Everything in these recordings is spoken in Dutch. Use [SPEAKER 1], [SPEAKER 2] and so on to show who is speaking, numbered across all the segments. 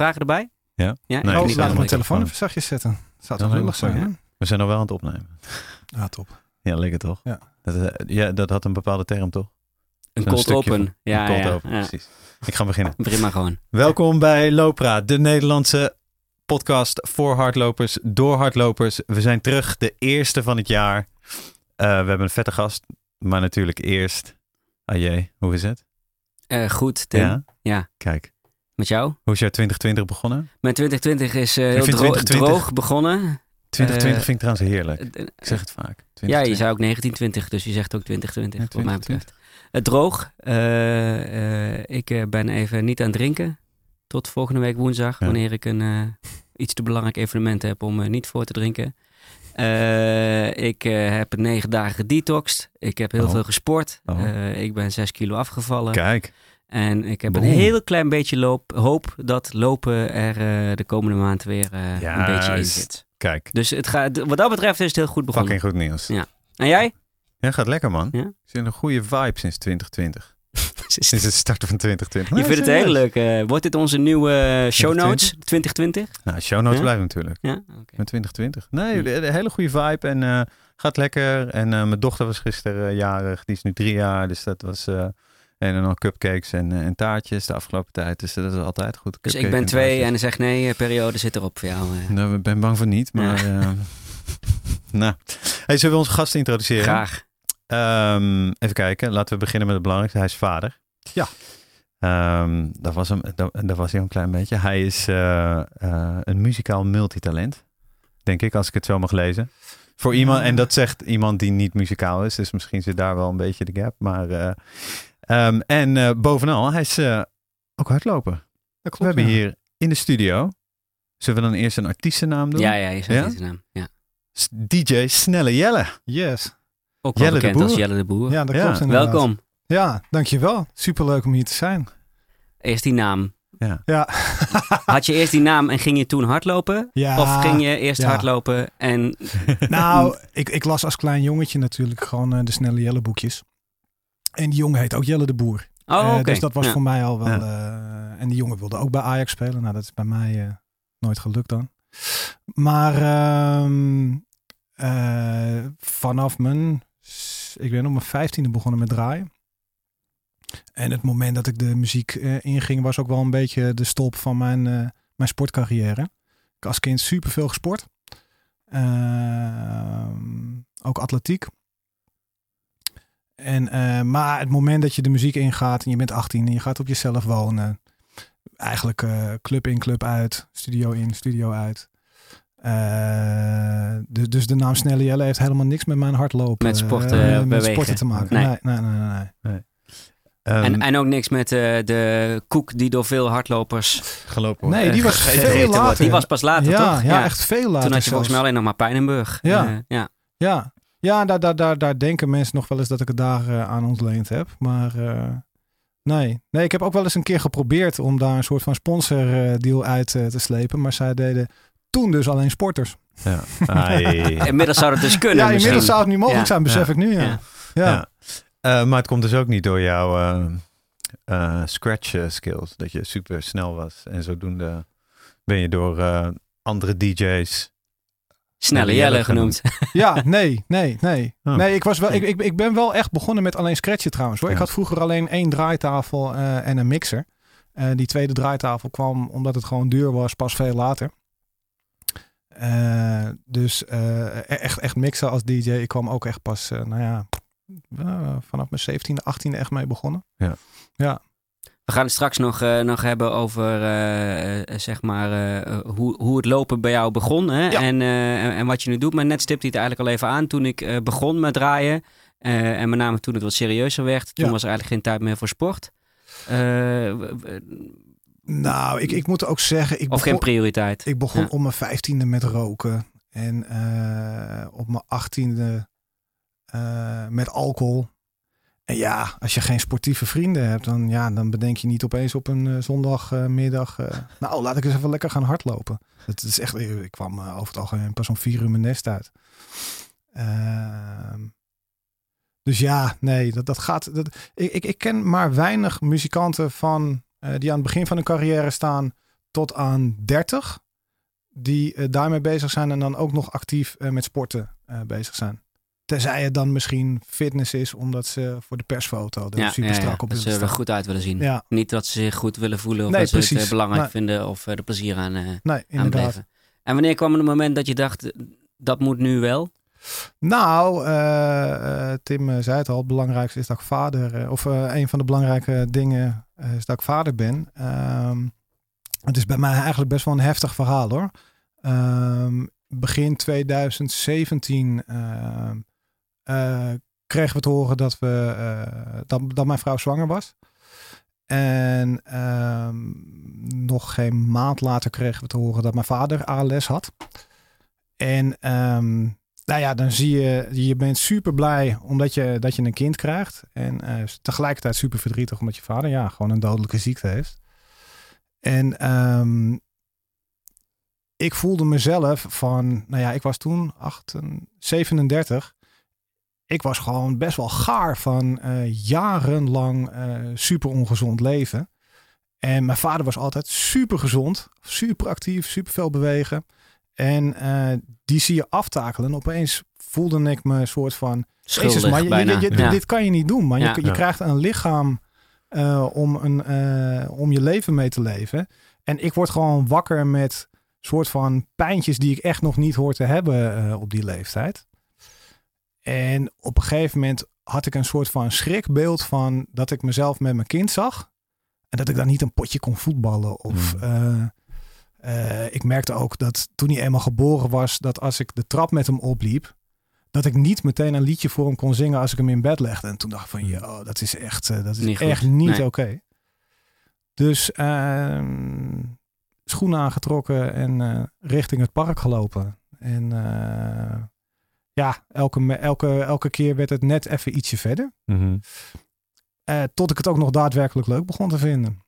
[SPEAKER 1] Vragen erbij?
[SPEAKER 2] Ja.
[SPEAKER 1] ja
[SPEAKER 2] Nee,
[SPEAKER 1] ik niet
[SPEAKER 2] die staan
[SPEAKER 3] oh,
[SPEAKER 2] op
[SPEAKER 3] laat
[SPEAKER 1] helemaal.
[SPEAKER 3] mijn
[SPEAKER 2] mijn
[SPEAKER 3] telefoon
[SPEAKER 2] telefoon.
[SPEAKER 3] even zachtjes zetten. Zou
[SPEAKER 2] Ja,
[SPEAKER 3] toch lullig zijn,
[SPEAKER 1] ja.
[SPEAKER 3] hè?
[SPEAKER 2] We zijn al wel aan het opnemen.
[SPEAKER 3] Ja, top.
[SPEAKER 2] Ja, lekker toch?
[SPEAKER 3] Ja.
[SPEAKER 2] Dat, eh, ja, dat had een bepaalde term toch?
[SPEAKER 1] een
[SPEAKER 2] Zo'n
[SPEAKER 1] cold
[SPEAKER 2] stukje
[SPEAKER 1] open.
[SPEAKER 2] van-
[SPEAKER 1] Ja,
[SPEAKER 2] een cold
[SPEAKER 1] ja,
[SPEAKER 2] open,
[SPEAKER 1] ja.
[SPEAKER 2] precies. Ik ga beginnen.
[SPEAKER 1] Begin maar gewoon.
[SPEAKER 2] Welkom bij Lopra, de Nederlandse podcast voor hardlopers, door hardlopers. We zijn terug, de eerste van het jaar. Eh, we hebben een vette gast, maar natuurlijk eerst... Ah jee, hoe is het?
[SPEAKER 1] Eh, goed, Tim. Ja.
[SPEAKER 2] Kijk,
[SPEAKER 1] Met jou?
[SPEAKER 2] hoe is jouw 2020 begonnen?
[SPEAKER 1] Mijn 2020 is eh, heel
[SPEAKER 2] vind
[SPEAKER 1] dro-
[SPEAKER 2] 2020
[SPEAKER 1] droog begonnen.
[SPEAKER 2] 2020
[SPEAKER 1] Eh,
[SPEAKER 2] vind ik trouwens heerlijk.
[SPEAKER 1] Eh, eh,
[SPEAKER 2] Ik zeg het vaak.
[SPEAKER 1] ja, je
[SPEAKER 2] 2020.
[SPEAKER 1] zei ook 1920, dus je zegt ook 2020,
[SPEAKER 2] Ja,
[SPEAKER 1] wat mij betreft. Het droog. Eh, eh, ik eh, ben even niet aan het drinken. Tot volgende week woensdag,
[SPEAKER 2] Ja.
[SPEAKER 1] wanneer ik een eh, iets te belangrijk evenement heb om eh, niet voor te drinken. Eh, ik eh, heb negen dagen gedetoxed. Ik heb heel
[SPEAKER 2] Oh.
[SPEAKER 1] veel gesport.
[SPEAKER 2] Oh.
[SPEAKER 1] Eh, ik ben zes kilo afgevallen.
[SPEAKER 2] Kijk,
[SPEAKER 1] En ik heb
[SPEAKER 2] Boem.
[SPEAKER 1] een heel klein beetje loop, hoop dat lopen er eh, de komende maand weer eh, een beetje in
[SPEAKER 2] Juist.
[SPEAKER 1] zit.
[SPEAKER 2] kijk.
[SPEAKER 1] Dus het gaat, wat dat betreft is het heel goed begonnen.
[SPEAKER 2] Fucking goed nieuws.
[SPEAKER 1] Ja. En jij?
[SPEAKER 2] Ja, gaat lekker man.
[SPEAKER 1] Ja?
[SPEAKER 2] Er zit een goede vibe sinds 2020. Sinds het starten van 2020.
[SPEAKER 1] Je vindt het heel leuk. eh, wordt dit onze nieuwe eh, show notes 2020?
[SPEAKER 2] Nou, show notes
[SPEAKER 1] Ja?
[SPEAKER 2] blijven natuurlijk.
[SPEAKER 1] Ja,
[SPEAKER 2] Met 2020. Nee,
[SPEAKER 1] Hmm.
[SPEAKER 2] de, de hele goede vibe en eh, gaat lekker. En eh, mijn dochter was gisteren eh, jarig. Die is nu drie jaar. Dus dat was... eh, en dan cupcakes en, eh, en taartjes de afgelopen tijd. Dus dat is altijd goed.
[SPEAKER 1] Dus ik
[SPEAKER 2] Cupcake
[SPEAKER 1] ben twee en
[SPEAKER 2] taartjes.
[SPEAKER 1] dan zeg nee, eh, periode zit erop voor jou. eh.
[SPEAKER 2] Nou, ik ben bang voor niet, maar... eh, nou, hey, zullen we onze gast introduceren?
[SPEAKER 1] Graag.
[SPEAKER 2] Ehm, even kijken, laten we beginnen met het belangrijkste. Hij is vader.
[SPEAKER 3] Ja.
[SPEAKER 2] Ehm, dat, was hem, dat, dat was hij een klein beetje. Hij is eh, eh, een muzikaal multitalent, denk ik, als ik het zo mag lezen. Voor iemand, en dat zegt iemand die niet muzikaal is, dus misschien zit daar wel een beetje de gap. Maar, eh, ehm, en eh, bovenal, hij is eh, ook hardloper.
[SPEAKER 3] Dat klopt,
[SPEAKER 2] we hebben
[SPEAKER 3] ja.
[SPEAKER 2] hier in de studio, zullen we dan eerst een artiestennaam doen?
[SPEAKER 1] Ja, ja, je zegt
[SPEAKER 2] Ja?
[SPEAKER 1] niet de naam. Ja.
[SPEAKER 2] S- DJ Snelle Jelle.
[SPEAKER 3] Yes.
[SPEAKER 1] Ook wel
[SPEAKER 2] Jelle de
[SPEAKER 1] bekend als
[SPEAKER 2] Boer.
[SPEAKER 1] Jelle de Boer.
[SPEAKER 3] Ja, dat
[SPEAKER 2] Ja.
[SPEAKER 3] klopt inderdaad.
[SPEAKER 1] Welkom.
[SPEAKER 3] Ja, dankjewel. Superleuk om hier te zijn.
[SPEAKER 1] Eerst die naam.
[SPEAKER 3] Ja.
[SPEAKER 1] Had je eerst die naam en ging je toen hardlopen?
[SPEAKER 3] ja.
[SPEAKER 1] Of ging je eerst
[SPEAKER 3] ja.
[SPEAKER 1] hardlopen en
[SPEAKER 3] Nou, ik, ik las als klein jongetje natuurlijk gewoon eh, de snelle Jelle boekjes. En die jongen heet ook Jelle de Boer.
[SPEAKER 1] Oh,
[SPEAKER 3] Eh,
[SPEAKER 1] oké.
[SPEAKER 3] Dus dat was
[SPEAKER 1] Ja.
[SPEAKER 3] voor mij al wel.
[SPEAKER 2] Ja.
[SPEAKER 3] eh, en die jongen wilde ook bij Ajax spelen. Nou, dat is bij mij eh, nooit gelukt dan. Maar ehm, eh, vanaf mijn. s- Ik ben op mijn vijftiende begonnen met draaien. En het moment dat ik de muziek eh, inging, was ook wel een beetje de stop van mijn, eh, mijn sportcarrière. Ik heb als kind superveel gesport. Ehm, ook atletiek. En, eh, maar het moment dat je de muziek ingaat en je bent 18 en je gaat op jezelf wonen. Eigenlijk eh, club in, club uit, studio in, studio uit. Eh, dus, dus de naam Snelle Jelle heeft helemaal niks met mijn hardlopen.
[SPEAKER 1] Met sporten,
[SPEAKER 3] eh, met
[SPEAKER 1] bewegen.
[SPEAKER 3] sporten te maken.
[SPEAKER 1] Nee.
[SPEAKER 3] Nee, nee, nee. nee, nee.
[SPEAKER 2] Ehm,
[SPEAKER 1] En, en ook niks met eh, de koek die door veel hardlopers
[SPEAKER 2] gelopen wordt.
[SPEAKER 3] Nee, die
[SPEAKER 1] eh,
[SPEAKER 3] was
[SPEAKER 1] gegeten
[SPEAKER 3] veel
[SPEAKER 1] wordt.
[SPEAKER 3] later.
[SPEAKER 1] Die was pas later,
[SPEAKER 3] ja,
[SPEAKER 1] Ah, toch?
[SPEAKER 3] Ja, echt veel
[SPEAKER 1] Toen
[SPEAKER 3] later.
[SPEAKER 1] had je
[SPEAKER 3] zelfs.
[SPEAKER 1] volgens mij alleen nog maar Pijnenburg.
[SPEAKER 3] Ja.
[SPEAKER 1] Eh, ja.
[SPEAKER 3] Ja, ja daar, daar, daar, daar denken mensen nog wel eens dat ik het daar eh, aan ontleend heb. Maar eh, nee. nee, ik heb ook wel eens een keer geprobeerd om daar een soort van sponsordeal uit eh, te slepen. Maar zij deden toen dus alleen sporters.
[SPEAKER 2] Ja. Ai.
[SPEAKER 1] Inmiddels zou dat dus kunnen
[SPEAKER 3] ja, inmiddels
[SPEAKER 1] misschien.
[SPEAKER 3] zou het niet mogelijk
[SPEAKER 1] Ja.
[SPEAKER 3] zijn, besef ik nu. Ja.
[SPEAKER 1] Ja.
[SPEAKER 3] Ja.
[SPEAKER 2] Ja. Eh, maar het komt dus ook niet door jouw eh, eh, scratch eh, skills. Dat je super snel was. En zodoende ben je door eh, andere DJ's.
[SPEAKER 1] Snelle Jelle genoemd.
[SPEAKER 3] Ja, nee, nee, nee.
[SPEAKER 2] Oh.
[SPEAKER 3] Nee, ik, was wel, ik, ik, ik ben wel echt begonnen met alleen scratchen trouwens. Hoor. Ik
[SPEAKER 2] Ja.
[SPEAKER 3] had vroeger alleen één draaitafel eh, en een mixer. Eh, die tweede draaitafel kwam omdat het gewoon duur was, pas veel later. Eh, dus eh, e- echt, echt mixen als DJ. Ik kwam ook echt pas, eh, nou ja, eh, vanaf mijn 17e, 18e echt mee begonnen.
[SPEAKER 1] We gaan het straks nog, eh, nog hebben over eh, eh, zeg maar, eh, hoe, hoe het lopen bij jou begon. Hè?
[SPEAKER 3] Ja.
[SPEAKER 1] En, eh, en, en wat je nu doet. Maar net stipte hij het eigenlijk al even aan toen ik eh, begon met draaien. eh, en met name toen het wat serieuzer werd. Toen
[SPEAKER 3] Ja.
[SPEAKER 1] was er eigenlijk geen tijd meer voor sport. Eh, w- w-
[SPEAKER 3] Nou, ik, ik moet ook zeggen, ik
[SPEAKER 1] of geen
[SPEAKER 3] begon-
[SPEAKER 1] prioriteit.
[SPEAKER 3] Ik begon
[SPEAKER 1] Ja.
[SPEAKER 3] op mijn vijftiende met roken. En eh, op mijn achttiende eh, met alcohol. En ja, als je geen sportieve vrienden hebt, dan, ja, dan bedenk je niet opeens op een eh, zondagmiddag. nou, laat ik eens even lekker gaan hardlopen. Het is echt, ik kwam eh, over het algemeen pas om vier uur mijn nest uit. Ehm, dus ja, nee, dat, dat gaat. Dat, ik, ik, ik ken maar weinig muzikanten van, eh, die aan het begin van hun carrière staan tot aan 30 die eh, daarmee bezig zijn en dan ook nog actief eh, met sporten eh, bezig zijn. Tenzij het dan misschien fitness is, omdat ze voor de persfoto er super strak op
[SPEAKER 1] dat ze
[SPEAKER 3] willen
[SPEAKER 1] er
[SPEAKER 3] staan.
[SPEAKER 1] goed uit willen zien.
[SPEAKER 3] Ja,
[SPEAKER 1] Niet dat ze zich goed willen voelen of
[SPEAKER 3] Nee,
[SPEAKER 1] dat ze het
[SPEAKER 3] precies.
[SPEAKER 1] eh, belangrijk
[SPEAKER 3] Nee.
[SPEAKER 1] vinden of eh, er plezier aan, eh
[SPEAKER 3] nee,
[SPEAKER 1] aan
[SPEAKER 3] inderdaad.
[SPEAKER 1] beleven. En wanneer kwam het moment dat je dacht, eh, dat moet nu wel?
[SPEAKER 3] Nou, eh, eh, Tim eh, zei het al, het belangrijkste is dat ik vader, eh, of eh, een van de belangrijke dingen eh, is dat ik vader ben. Ehm, het is bij mij eigenlijk best wel een heftig verhaal hoor. Ehm, begin 2017 ehm, eh, kregen we te horen dat, we, eh, dat, dat mijn vrouw zwanger was. En ehm, nog geen maand later kregen we te horen dat mijn vader ALS had. En ehm, nou ja, dan zie je, je bent super blij omdat je, dat je een kind krijgt. En eh, tegelijkertijd super verdrietig omdat je vader ja, gewoon een dodelijke ziekte heeft. En ehm, ik voelde mezelf van, nou ja, ik was toen 8, 37. Ik was gewoon best wel gaar van eh, jarenlang eh, super ongezond leven. En mijn vader was altijd super gezond, super actief, super veel bewegen. En eh, die zie je aftakelen. En opeens voelde ik me een soort van...
[SPEAKER 1] Schuldig
[SPEAKER 3] Jezus, man, je- je-
[SPEAKER 1] bijna.
[SPEAKER 3] je-
[SPEAKER 1] Ja.
[SPEAKER 3] dit kan je niet doen. Man.
[SPEAKER 1] Ja.
[SPEAKER 3] Je, je
[SPEAKER 2] Ja.
[SPEAKER 3] krijgt een lichaam eh, om, een, eh, om je leven mee te leven. En ik word gewoon wakker met soort van pijntjes die ik echt nog niet hoor te hebben eh, op die leeftijd. En op een gegeven moment had ik een soort van schrikbeeld van dat ik mezelf met mijn kind zag. En dat ik dan niet een potje kon voetballen. Of
[SPEAKER 1] Hmm.
[SPEAKER 2] Mm.
[SPEAKER 3] eh, eh, ik merkte ook dat toen hij eenmaal geboren was, dat als ik de trap met hem opliep, dat ik niet meteen een liedje voor hem kon zingen als ik hem in bed legde. En toen dacht ik van, joh, dat is echt, eh, dat is
[SPEAKER 1] Hmm. Niet goed.
[SPEAKER 3] echt niet
[SPEAKER 1] Nee.
[SPEAKER 3] oké. Dus ehm, schoenen aangetrokken en eh, richting het park gelopen. En eh, ja, elke, me- elke, elke keer werd het net even ietsje verder.
[SPEAKER 2] Mhm.
[SPEAKER 3] Eh, tot ik het ook nog daadwerkelijk leuk begon te vinden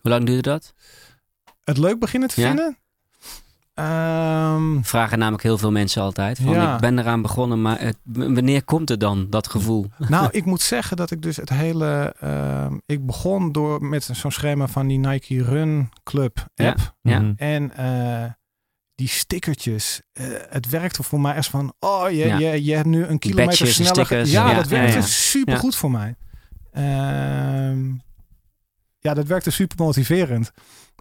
[SPEAKER 1] Hoe lang duurde dat?
[SPEAKER 3] het leuk beginnen te
[SPEAKER 1] Ja.
[SPEAKER 3] vinden. Ehm,
[SPEAKER 1] Vragen namelijk heel veel mensen altijd. Van,
[SPEAKER 3] Ja.
[SPEAKER 1] Ik ben eraan begonnen, maar het- w- wanneer komt het dan, dat gevoel?
[SPEAKER 3] nou, ik moet zeggen dat ik dus het hele. ehm, ik begon door met zo'n schema van die Nike Run Club app.
[SPEAKER 1] Ja.
[SPEAKER 2] Mhm.
[SPEAKER 3] En eh, die stickertjes. eh, het werkte voor mij als van. Oh, je,
[SPEAKER 1] Ja.
[SPEAKER 3] je, je hebt nu een kilometer
[SPEAKER 1] badges en
[SPEAKER 3] sneller. ge-
[SPEAKER 1] stickers.
[SPEAKER 3] ja,
[SPEAKER 1] Ja,
[SPEAKER 3] dat
[SPEAKER 1] ja,
[SPEAKER 3] werkte
[SPEAKER 1] ja.
[SPEAKER 3] super goed voor mij. Ehm, ja, dat werkte super motiverend.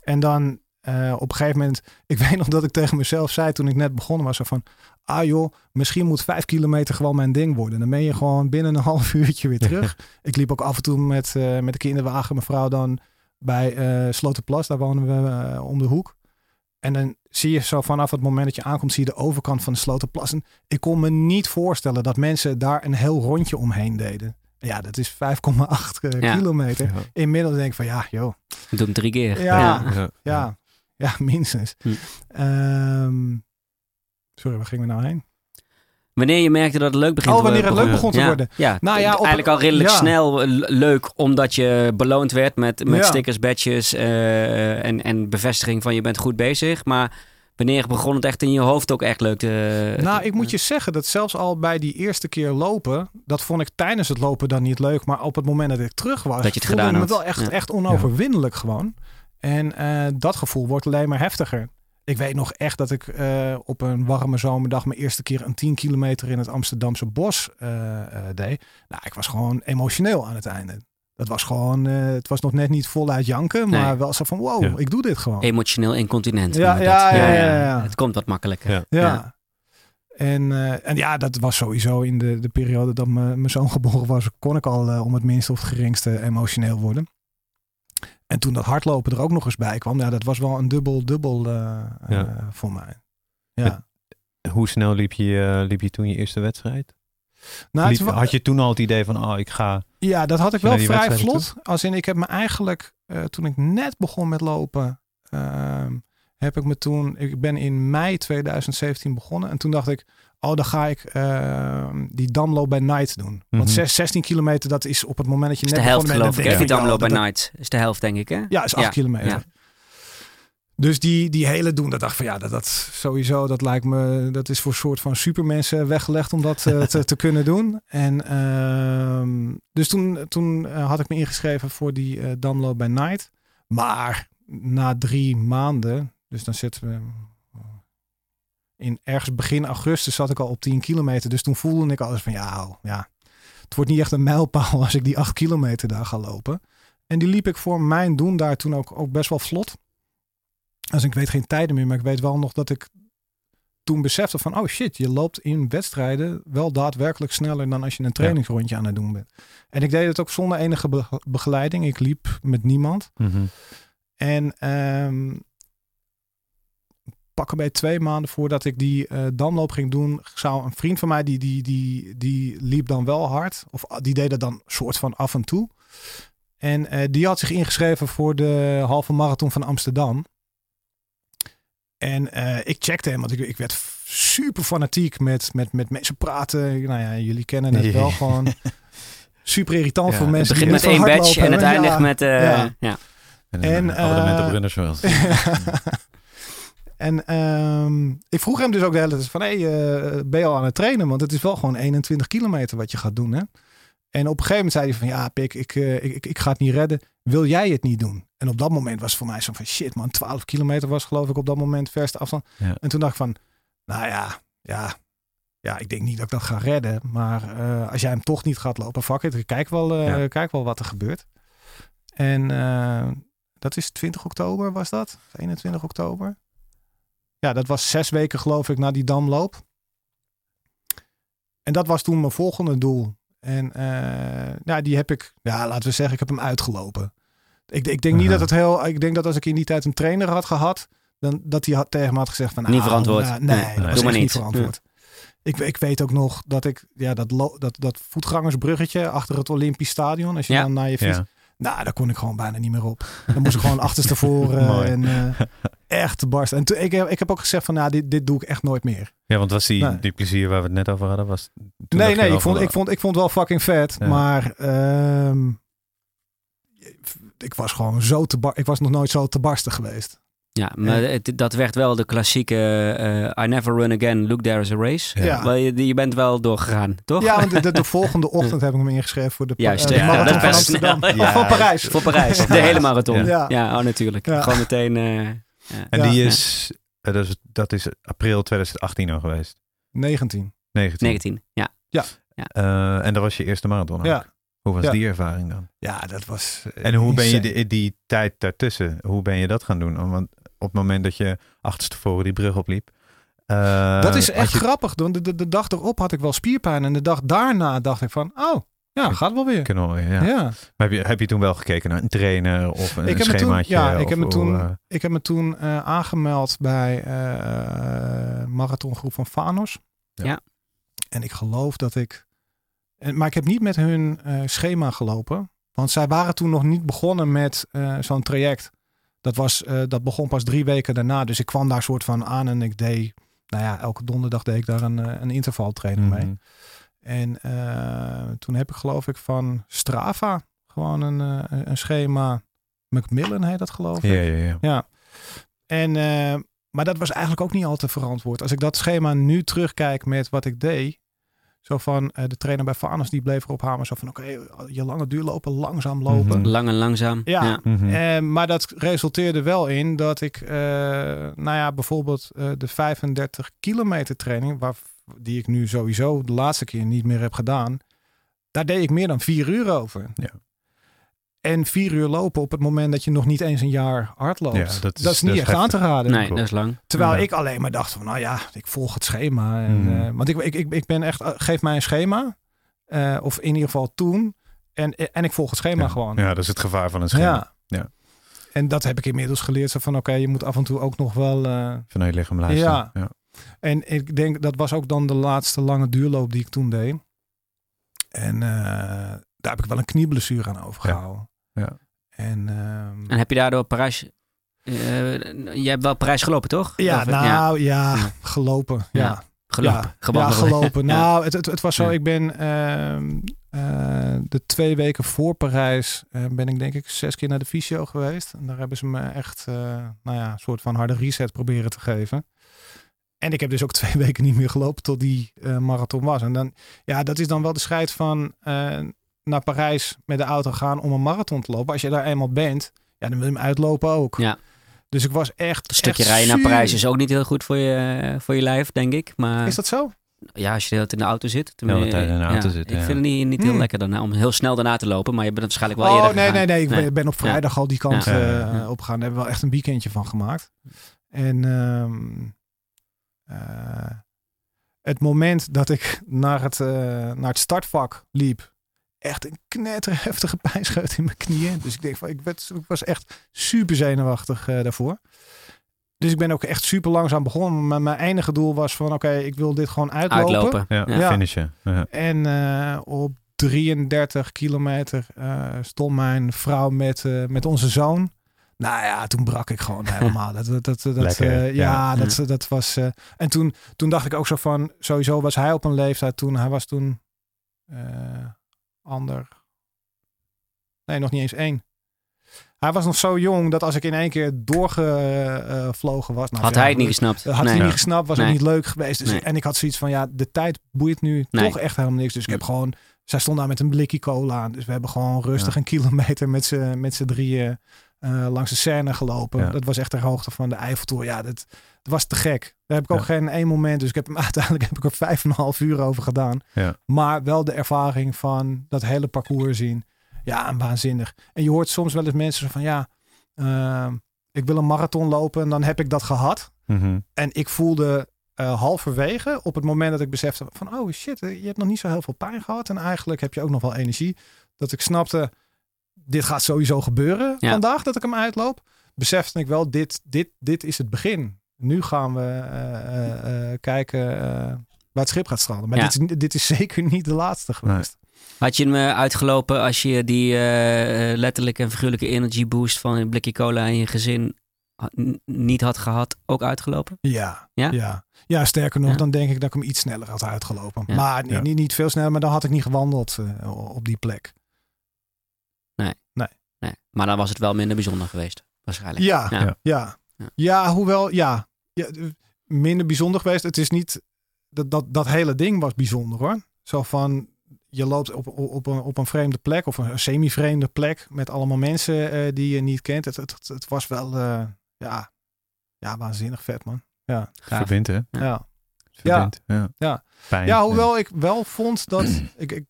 [SPEAKER 3] En dan eh, op een gegeven moment. Ik weet nog dat ik tegen mezelf zei toen ik net begonnen was. Zo van, ah joh, misschien moet vijf kilometer gewoon mijn ding worden. Dan ben je gewoon binnen een half uurtje weer terug. ik liep ook af en toe met, eh, met de kinderwagen, mevrouw dan bij eh, Sloterplas. Daar wonen we eh, om de hoek. En dan zie je zo vanaf het moment dat je aankomt, zie je de overkant van de Sloterplas. En ik kon me niet voorstellen dat mensen daar een heel rondje omheen deden. Ja, dat is 5,8 eh,
[SPEAKER 1] Ja.
[SPEAKER 3] kilometer.
[SPEAKER 2] Ja.
[SPEAKER 3] Inmiddels denk ik van ja, joh.
[SPEAKER 1] Ik doe hem drie keer.
[SPEAKER 3] Ja.
[SPEAKER 2] Ja.
[SPEAKER 3] Ja, ja minstens.
[SPEAKER 1] Hm.
[SPEAKER 3] Ehm, sorry, waar gingen we nou heen?
[SPEAKER 1] Wanneer je merkte dat het leuk begint
[SPEAKER 3] Oh,
[SPEAKER 1] te worden.
[SPEAKER 3] wanneer het leuk begon te
[SPEAKER 1] ja.
[SPEAKER 3] worden.
[SPEAKER 1] Ja,
[SPEAKER 3] Nou ja, op-
[SPEAKER 1] eigenlijk al redelijk
[SPEAKER 3] ja.
[SPEAKER 1] snel eh, le- leuk, omdat je beloond werd met, met
[SPEAKER 3] Ja.
[SPEAKER 1] stickers, badges eh, en, en bevestiging van je bent goed bezig. Maar wanneer begon het echt in je hoofd ook echt leuk te...
[SPEAKER 3] Nou,
[SPEAKER 1] te-
[SPEAKER 3] ik moet je zeggen dat zelfs al bij die eerste keer lopen, dat vond ik tijdens het lopen dan niet leuk. Maar op het moment dat ik terug was,
[SPEAKER 1] Dat je het
[SPEAKER 3] voelde
[SPEAKER 1] gedaan
[SPEAKER 3] ik me
[SPEAKER 1] had.
[SPEAKER 3] wel echt,
[SPEAKER 1] Ja.
[SPEAKER 3] echt onoverwinnelijk gewoon. En eh, dat gevoel wordt alleen maar heftiger. Ik weet nog echt dat ik eh, op een warme zomerdag mijn eerste keer een 10 kilometer in het Amsterdamse bos eh, eh, deed. Nou, ik was gewoon emotioneel aan het einde. Dat was gewoon, eh, het was nog net niet voluit janken, maar
[SPEAKER 1] Nee.
[SPEAKER 3] wel zo van wow,
[SPEAKER 2] Ja.
[SPEAKER 3] ik doe dit gewoon.
[SPEAKER 1] Emotioneel incontinent.
[SPEAKER 3] Ja,
[SPEAKER 1] noemen we
[SPEAKER 3] ja,
[SPEAKER 1] dat.
[SPEAKER 3] ja, ja, ja.
[SPEAKER 1] Het komt wat makkelijker.
[SPEAKER 2] Ja.
[SPEAKER 3] Ja.
[SPEAKER 1] Ja.
[SPEAKER 3] En, eh, en ja, dat was sowieso in de, de periode dat me- mijn zoon geboren was, kon ik al eh, om het minste of het geringste emotioneel worden. En toen dat hardlopen er ook nog eens bij kwam, ja, dat was wel een dubbel-dubbel eh, eh, voor mij. Ja.
[SPEAKER 2] Hoe snel liep je, eh, liep je toen je eerste wedstrijd?
[SPEAKER 3] Nou, het
[SPEAKER 2] Liep-
[SPEAKER 3] wa-
[SPEAKER 2] had je toen al het idee van, oh, ik ga...
[SPEAKER 3] Ja, dat had ik
[SPEAKER 2] je
[SPEAKER 3] wel
[SPEAKER 2] naar die
[SPEAKER 3] vrij
[SPEAKER 2] wedstrijden
[SPEAKER 3] vlot. Als in, ik heb me eigenlijk, eh, toen ik net begon met lopen, ehm, heb ik me toen, ik ben in mei 2017 begonnen. En toen dacht ik, oh, dan ga ik ehm, die damloop bij Night doen. Want
[SPEAKER 2] Mhm.
[SPEAKER 3] zes- 16 kilometer, dat is op het moment dat je
[SPEAKER 1] Is
[SPEAKER 3] net
[SPEAKER 1] de helft
[SPEAKER 3] begonnen
[SPEAKER 1] geloof
[SPEAKER 3] bent.
[SPEAKER 1] ik,
[SPEAKER 3] dan
[SPEAKER 1] hè? Die
[SPEAKER 3] denk ik,
[SPEAKER 1] Damloop
[SPEAKER 3] oh,
[SPEAKER 1] bij Night. Is de helft denk ik, hè?
[SPEAKER 3] ja, is acht
[SPEAKER 1] Ja,
[SPEAKER 3] kilometer.
[SPEAKER 1] ja.
[SPEAKER 3] Dus die, die hele doen, dat dacht ik van ja, dat, dat sowieso, dat lijkt me, dat is voor soort van supermensen weggelegd om dat eh, te, te kunnen doen. En ehm, dus toen, toen eh, had ik me ingeschreven voor die eh damloop bij Night. Maar na drie maanden, dus dan zitten we eh, in ergens begin augustus zat ik al op 10 kilometer. Dus toen voelde ik alles van ja, hou, ja, het wordt niet echt een mijlpaal als ik die 8 kilometer daar ga lopen. En die liep ik voor mijn doen daar toen ook, ook best wel vlot. Dus ik weet geen tijden meer, maar ik weet wel nog dat ik toen besefte van oh shit, je loopt in wedstrijden wel daadwerkelijk sneller dan als je een trainingsrondje aan het doen bent. En ik deed het ook zonder enige be- begeleiding. Ik liep met niemand.
[SPEAKER 2] Mhm.
[SPEAKER 3] En ehm pakken bij twee maanden voordat ik die eh, damloop ging doen, zou een vriend van mij, die, die, die, die liep dan wel hard. Of ah, die deed dat dan soort van af en toe. En eh, die had zich ingeschreven voor de halve marathon van Amsterdam. En eh, ik checkte hem, want ik, ik werd f- super fanatiek met, met, met mensen praten. Nou ja, jullie kennen het wel
[SPEAKER 2] Ja.
[SPEAKER 3] gewoon. Super irritant
[SPEAKER 2] Ja,
[SPEAKER 3] voor
[SPEAKER 2] het
[SPEAKER 1] Het
[SPEAKER 3] mensen. die
[SPEAKER 1] begint met
[SPEAKER 3] niet
[SPEAKER 1] één
[SPEAKER 3] van
[SPEAKER 1] badge
[SPEAKER 3] hardlopen
[SPEAKER 1] en het
[SPEAKER 3] hebben.
[SPEAKER 1] eindigt
[SPEAKER 3] Ja.
[SPEAKER 1] met... eh,
[SPEAKER 3] ja.
[SPEAKER 1] ja.
[SPEAKER 2] En,
[SPEAKER 3] En,
[SPEAKER 2] een abonnement
[SPEAKER 3] eh,
[SPEAKER 2] op Runnersworld.
[SPEAKER 3] en ehm, ik vroeg hem dus ook de hele tijd van, hey, eh, ben je al aan het trainen? Want het is wel gewoon 21 kilometer wat je gaat doen, hè? En op een gegeven moment zei hij van, ja, Pik, ik, eh, ik, ik, ik ga het niet redden. Wil jij het niet doen? En op dat moment was het voor mij zo van, shit man, 12 kilometer was geloof ik op dat moment verste afstand.
[SPEAKER 2] Ja.
[SPEAKER 3] En toen dacht ik van, nou ja, ja, ja, ik denk niet dat ik dat ga redden. Maar eh, als jij hem toch niet gaat lopen, fuck it, ik kijk wel, eh,
[SPEAKER 2] Ja.
[SPEAKER 3] ik kijk wel wat er gebeurt. En eh, dat is 20 oktober was dat? 21 oktober? Ja, dat was zes weken geloof ik na die damloop. En dat was toen mijn volgende doel. En eh, ja, die heb ik, ja, laten we zeggen, ik heb hem uitgelopen. Ik, ik denk niet
[SPEAKER 2] Aha.
[SPEAKER 3] dat het heel, ik denk dat als ik in die tijd een trainer had gehad, dan dat hij had, tegen me had gezegd van,
[SPEAKER 1] Niet
[SPEAKER 3] "Ah,
[SPEAKER 1] verantwoord.
[SPEAKER 3] nou,
[SPEAKER 1] Nee,
[SPEAKER 3] nee, dat
[SPEAKER 2] doe
[SPEAKER 3] was
[SPEAKER 2] maar
[SPEAKER 3] echt niet,
[SPEAKER 1] niet."
[SPEAKER 3] verantwoord. Ik, ik weet ook nog dat ik, ja, dat, lo- dat, dat voetgangersbruggetje achter het Olympisch Stadion, als je
[SPEAKER 1] Ja.
[SPEAKER 3] dan naar je fiets,
[SPEAKER 2] Ja.
[SPEAKER 3] nou, daar kon ik gewoon bijna niet meer op. Dan moest ik gewoon achterstevoren
[SPEAKER 2] Mooi.
[SPEAKER 3] en eh, echt te barsten. En toen, ik, heb- ik heb ook gezegd van, nou, dit, dit doe ik echt nooit meer.
[SPEAKER 2] ja, want was die,
[SPEAKER 3] Nee.
[SPEAKER 2] die plezier waar we het net over hadden? Was, toen dacht
[SPEAKER 3] nee,
[SPEAKER 2] je
[SPEAKER 3] nee,
[SPEAKER 2] wel
[SPEAKER 3] ik vond,
[SPEAKER 2] van,
[SPEAKER 3] ik, vond, ik vond het wel fucking vet.
[SPEAKER 2] Ja.
[SPEAKER 3] Maar ehm, ik was gewoon zo te bar- Ik was nog nooit zo te barsten geweest.
[SPEAKER 1] Ja, maar het- dat werd wel de klassieke eh, I never run again, look there is a race.
[SPEAKER 2] Ja.
[SPEAKER 3] Ja.
[SPEAKER 1] Wel, je, je bent wel doorgegaan, toch?
[SPEAKER 3] Ja, want de, de, de volgende ochtend heb ik hem ingeschreven voor de, pa-
[SPEAKER 1] Juist,
[SPEAKER 3] eh, de
[SPEAKER 2] Oh. ja.
[SPEAKER 3] marathon
[SPEAKER 2] Dat
[SPEAKER 3] van
[SPEAKER 2] was
[SPEAKER 3] Amsterdam.
[SPEAKER 1] snel,
[SPEAKER 3] Of
[SPEAKER 2] ja.
[SPEAKER 3] van Parijs.
[SPEAKER 1] Voor Parijs, de hele marathon. Ja,
[SPEAKER 3] Ja.
[SPEAKER 1] oh, natuurlijk.
[SPEAKER 3] Ja.
[SPEAKER 1] Gewoon meteen... eh,
[SPEAKER 2] En
[SPEAKER 3] Ja.
[SPEAKER 2] die is, eh, dat is, dat is april 2018 al geweest.
[SPEAKER 3] 19.
[SPEAKER 2] 19.
[SPEAKER 1] 19, ja.
[SPEAKER 2] Eh, en dat was je eerste marathon. ook.
[SPEAKER 3] Ja.
[SPEAKER 2] Hoe was
[SPEAKER 3] Ja.
[SPEAKER 2] die ervaring dan?
[SPEAKER 3] ja, dat was... eh,
[SPEAKER 2] En hoe ben je
[SPEAKER 3] insane.
[SPEAKER 2] die, die tijd daartussen, hoe ben je dat gaan doen? Want op het moment dat je achterstevoren die brug opliep. eh,
[SPEAKER 3] Dat is
[SPEAKER 2] had
[SPEAKER 3] echt
[SPEAKER 2] je-
[SPEAKER 3] grappig. want De, de, de dag erop had ik wel spierpijn. En de dag daarna dacht ik van... Oh, ja, gaat wel weer.
[SPEAKER 2] kunnen horen, ja.
[SPEAKER 3] ja.
[SPEAKER 2] Maar heb je, heb je toen wel gekeken naar een trainer of een
[SPEAKER 3] Ik heb me toen-
[SPEAKER 2] schemaatje?
[SPEAKER 3] ja, ik
[SPEAKER 2] of
[SPEAKER 3] heb me
[SPEAKER 2] hoe,
[SPEAKER 3] toen-
[SPEAKER 2] eh,
[SPEAKER 3] Ik heb me toen eh, aangemeld bij eh marathongroep van Fanos.
[SPEAKER 2] Ja.
[SPEAKER 1] Ja.
[SPEAKER 3] En ik geloof dat ik... En, maar ik heb niet met hun eh, schema gelopen. Want zij waren toen nog niet begonnen met eh, zo'n traject. Dat, was, eh, dat begon pas drie weken daarna. Dus ik kwam daar soort van aan en ik deed... Nou ja, elke donderdag deed ik daar een, eh, een intervaltraining mee.
[SPEAKER 2] mhm.
[SPEAKER 3] En eh, toen heb ik geloof ik van Strava gewoon een, eh, een schema. Macmillan heet dat geloof ik.
[SPEAKER 2] Ja, ja, ja.
[SPEAKER 3] Ja. En, eh, maar dat was eigenlijk ook niet al te verantwoord. Als ik dat schema nu terugkijk met wat ik deed. Zo van eh, de trainer bij Fanos die bleef erop hameren. Zo van oké, je lange duur lopen, langzaam lopen.
[SPEAKER 2] Mhm.
[SPEAKER 1] Lang en langzaam.
[SPEAKER 3] Ja.
[SPEAKER 1] ja.
[SPEAKER 2] Mhm.
[SPEAKER 3] Eh, maar dat resulteerde wel in dat ik, eh, nou ja, bijvoorbeeld eh, de 35 kilometer training, waar, die ik nu sowieso de laatste keer niet meer heb gedaan, daar deed ik meer dan vier uur over.
[SPEAKER 2] Ja.
[SPEAKER 3] En vier uur lopen op het moment dat je nog niet eens een jaar hard loopt,
[SPEAKER 2] Ja,
[SPEAKER 3] dat, is,
[SPEAKER 2] dat is-
[SPEAKER 3] niet
[SPEAKER 2] dat is
[SPEAKER 3] echt aan te raden.
[SPEAKER 1] Nee,
[SPEAKER 2] Klopt.
[SPEAKER 1] dat is lang.
[SPEAKER 3] Terwijl
[SPEAKER 2] Ja.
[SPEAKER 3] ik alleen maar dacht van, nou ja, ik volg het schema. En,
[SPEAKER 2] Mhm.
[SPEAKER 3] eh, want ik, ik, ik, ik ben echt, eh, geef mij een schema, eh, of in ieder geval toen, en, en ik volg het schema
[SPEAKER 2] ja.
[SPEAKER 3] gewoon.
[SPEAKER 2] Ja, dat is het gevaar van een schema.
[SPEAKER 3] Ja.
[SPEAKER 2] Ja.
[SPEAKER 3] En dat heb ik inmiddels geleerd. Zo van oké, je moet af en toe ook nog wel. eh,
[SPEAKER 2] Van je lichaam luisteren.
[SPEAKER 3] Ja.
[SPEAKER 2] ja.
[SPEAKER 3] en ik denk dat was ook dan de laatste lange duurloop die ik toen deed. En eh, daar heb ik wel een knieblessure aan overgehouden.
[SPEAKER 2] Ja. Ja.
[SPEAKER 3] En, ehm,
[SPEAKER 1] En heb je daardoor Parijs... eh, je hebt wel Parijs gelopen, toch?
[SPEAKER 3] ja,
[SPEAKER 1] Of- ja,
[SPEAKER 3] nou ja,
[SPEAKER 1] Ja.
[SPEAKER 3] gelopen.
[SPEAKER 1] Ja.
[SPEAKER 3] Ja.
[SPEAKER 1] gelopen.
[SPEAKER 3] Ja, ja,
[SPEAKER 1] gewandeld.
[SPEAKER 3] gelopen.
[SPEAKER 1] Ja.
[SPEAKER 3] Nou, het, het, het was zo.
[SPEAKER 1] Ja.
[SPEAKER 3] Ik ben ehm, eh, de twee weken voor Parijs eh, ben ik denk ik zes keer naar de fysio geweest. En daar hebben ze me echt, eh, nou ja, een soort van harde reset proberen te geven. En ik heb dus ook twee weken niet meer gelopen tot die eh, marathon was. En dan, ja, dat is dan wel de scheid van eh, naar Parijs met de auto gaan om een marathon te lopen. Als je daar eenmaal bent, Ja, dan wil je hem uitlopen ook.
[SPEAKER 1] Ja.
[SPEAKER 3] Dus ik was echt.
[SPEAKER 1] Een stukje
[SPEAKER 3] echt
[SPEAKER 1] rijden naar
[SPEAKER 3] zuur.
[SPEAKER 1] Parijs is ook niet heel goed voor je, voor je lijf, denk ik. Maar
[SPEAKER 3] Is dat zo?
[SPEAKER 1] ja, als je de hele tijd in de auto zit.
[SPEAKER 2] hele
[SPEAKER 1] tenminste,
[SPEAKER 2] tijd in de
[SPEAKER 1] ja,
[SPEAKER 2] auto zitten,
[SPEAKER 1] Ik
[SPEAKER 2] ja.
[SPEAKER 1] vind het niet, niet heel
[SPEAKER 3] Hmm.
[SPEAKER 1] lekker daarna om heel snel daarna te lopen. Maar je bent waarschijnlijk wel
[SPEAKER 3] oh,
[SPEAKER 1] eerder
[SPEAKER 3] nee,
[SPEAKER 1] gegaan.
[SPEAKER 3] nee, nee. Ik
[SPEAKER 1] Nee.
[SPEAKER 3] ben- ben op vrijdag al die kant
[SPEAKER 2] Ja.
[SPEAKER 3] eh,
[SPEAKER 2] Ja,
[SPEAKER 1] ja.
[SPEAKER 3] opgegaan. Daar hebben we wel echt een weekendje van gemaakt. En ehm, eh, het moment dat ik naar het, eh, naar het startvak liep, echt een knetterheftige pijnscheut in mijn knieën. Dus ik denk van, ik, werd, ik was echt super zenuwachtig eh, daarvoor. Dus ik ben ook echt super langzaam begonnen. Maar mijn eindige doel was van, oké, ik wil dit gewoon uitlopen.
[SPEAKER 1] Uitlopen.
[SPEAKER 2] Ja,
[SPEAKER 1] Ja.
[SPEAKER 2] finishen. Ja.
[SPEAKER 3] En eh, op 33 kilometer eh, stond mijn vrouw met, eh, met onze zoon. Nou ja, toen brak ik gewoon helemaal. Dat, dat, dat, dat,
[SPEAKER 2] Lekker,
[SPEAKER 3] eh, ja,
[SPEAKER 1] ja.
[SPEAKER 3] Dat, dat was. eh, en toen, toen dacht ik ook zo van. Sowieso was hij op een leeftijd toen. Hij was toen. eh, ander. Nee, nog niet eens één. Hij was nog zo jong dat als ik in één keer doorgevlogen was. Nou,
[SPEAKER 1] Had
[SPEAKER 3] ja,
[SPEAKER 1] hij het niet gesnapt?
[SPEAKER 3] dat had hij
[SPEAKER 1] Nee.
[SPEAKER 3] niet gesnapt, was
[SPEAKER 1] Nee.
[SPEAKER 3] ook niet leuk geweest. Dus
[SPEAKER 1] Nee.
[SPEAKER 3] ik- en ik had zoiets van, ja, de tijd boeit nu
[SPEAKER 1] Nee. Mm.
[SPEAKER 3] toch echt helemaal niks. Dus ik heb gewoon, zij stond daar met een blikje cola aan. Dus we hebben gewoon rustig
[SPEAKER 2] Ja.
[SPEAKER 3] een kilometer met z'n met z'n drieën eh, langs de scène gelopen.
[SPEAKER 2] Ja.
[SPEAKER 3] Dat was echt de hoogte van de Eiffeltoren. Ja, dat, dat was te gek. Daar heb ik ook geen één moment. Dus ik heb hem uiteindelijk heb ik er vijf en een half uur over gedaan.
[SPEAKER 2] Ja.
[SPEAKER 3] Maar wel de ervaring van dat hele parcours zien. Ja, en waanzinnig. En je hoort soms wel eens mensen van, ja, eh, ik wil een marathon lopen en dan heb ik dat gehad.
[SPEAKER 2] Mhm.
[SPEAKER 3] En ik voelde eh, halverwege op het moment dat ik besefte van oh shit, eh, je hebt nog niet zo heel veel pijn gehad. En eigenlijk heb je ook nog wel energie. Dat ik snapte, dit gaat sowieso gebeuren
[SPEAKER 1] Ja.
[SPEAKER 3] vandaag dat ik hem uitloop. Besefte ik wel, dit, dit, dit is het begin. Nu gaan we eh, eh, eh, kijken eh, waar het schip gaat stranden. Maar
[SPEAKER 1] Ja.
[SPEAKER 3] dit, is, dit is zeker niet de laatste geweest.
[SPEAKER 1] Had je hem eh, uitgelopen als je die eh, eh, letterlijke en figuurlijke energy boost van een blikje cola en je gezin ha- n- niet had gehad, ook uitgelopen?
[SPEAKER 3] Ja,
[SPEAKER 1] Ja?
[SPEAKER 3] ja. ja. sterker nog,
[SPEAKER 1] Ja.
[SPEAKER 3] dan denk ik dat ik hem iets sneller had uitgelopen.
[SPEAKER 1] Ja.
[SPEAKER 3] Maar ni-
[SPEAKER 2] Ja.
[SPEAKER 3] Niet, niet veel sneller, maar dan had ik niet gewandeld eh, op die plek.
[SPEAKER 1] Nee. Maar dan was het wel minder bijzonder geweest, waarschijnlijk.
[SPEAKER 3] Ja,
[SPEAKER 1] Ja.
[SPEAKER 3] ja. Ja,
[SPEAKER 1] Ja.
[SPEAKER 3] hoewel, ja. ja. eh, Minder bijzonder geweest. Het is niet, dat, dat, dat hele ding was bijzonder hoor. Zo van, je loopt op, op, op een, op een vreemde plek of een semi-vreemde plek met allemaal mensen eh, die je niet kent. Het, het, het, het was wel, eh, ja, ja, waanzinnig vet man.
[SPEAKER 1] Gaaf.
[SPEAKER 2] Verbindt, hè?
[SPEAKER 1] Ja.
[SPEAKER 3] Ja,
[SPEAKER 2] Verbindt. Ja.
[SPEAKER 3] Ja.
[SPEAKER 2] Pijn.
[SPEAKER 3] ja hoewel ik wel vond dat, ik, ik,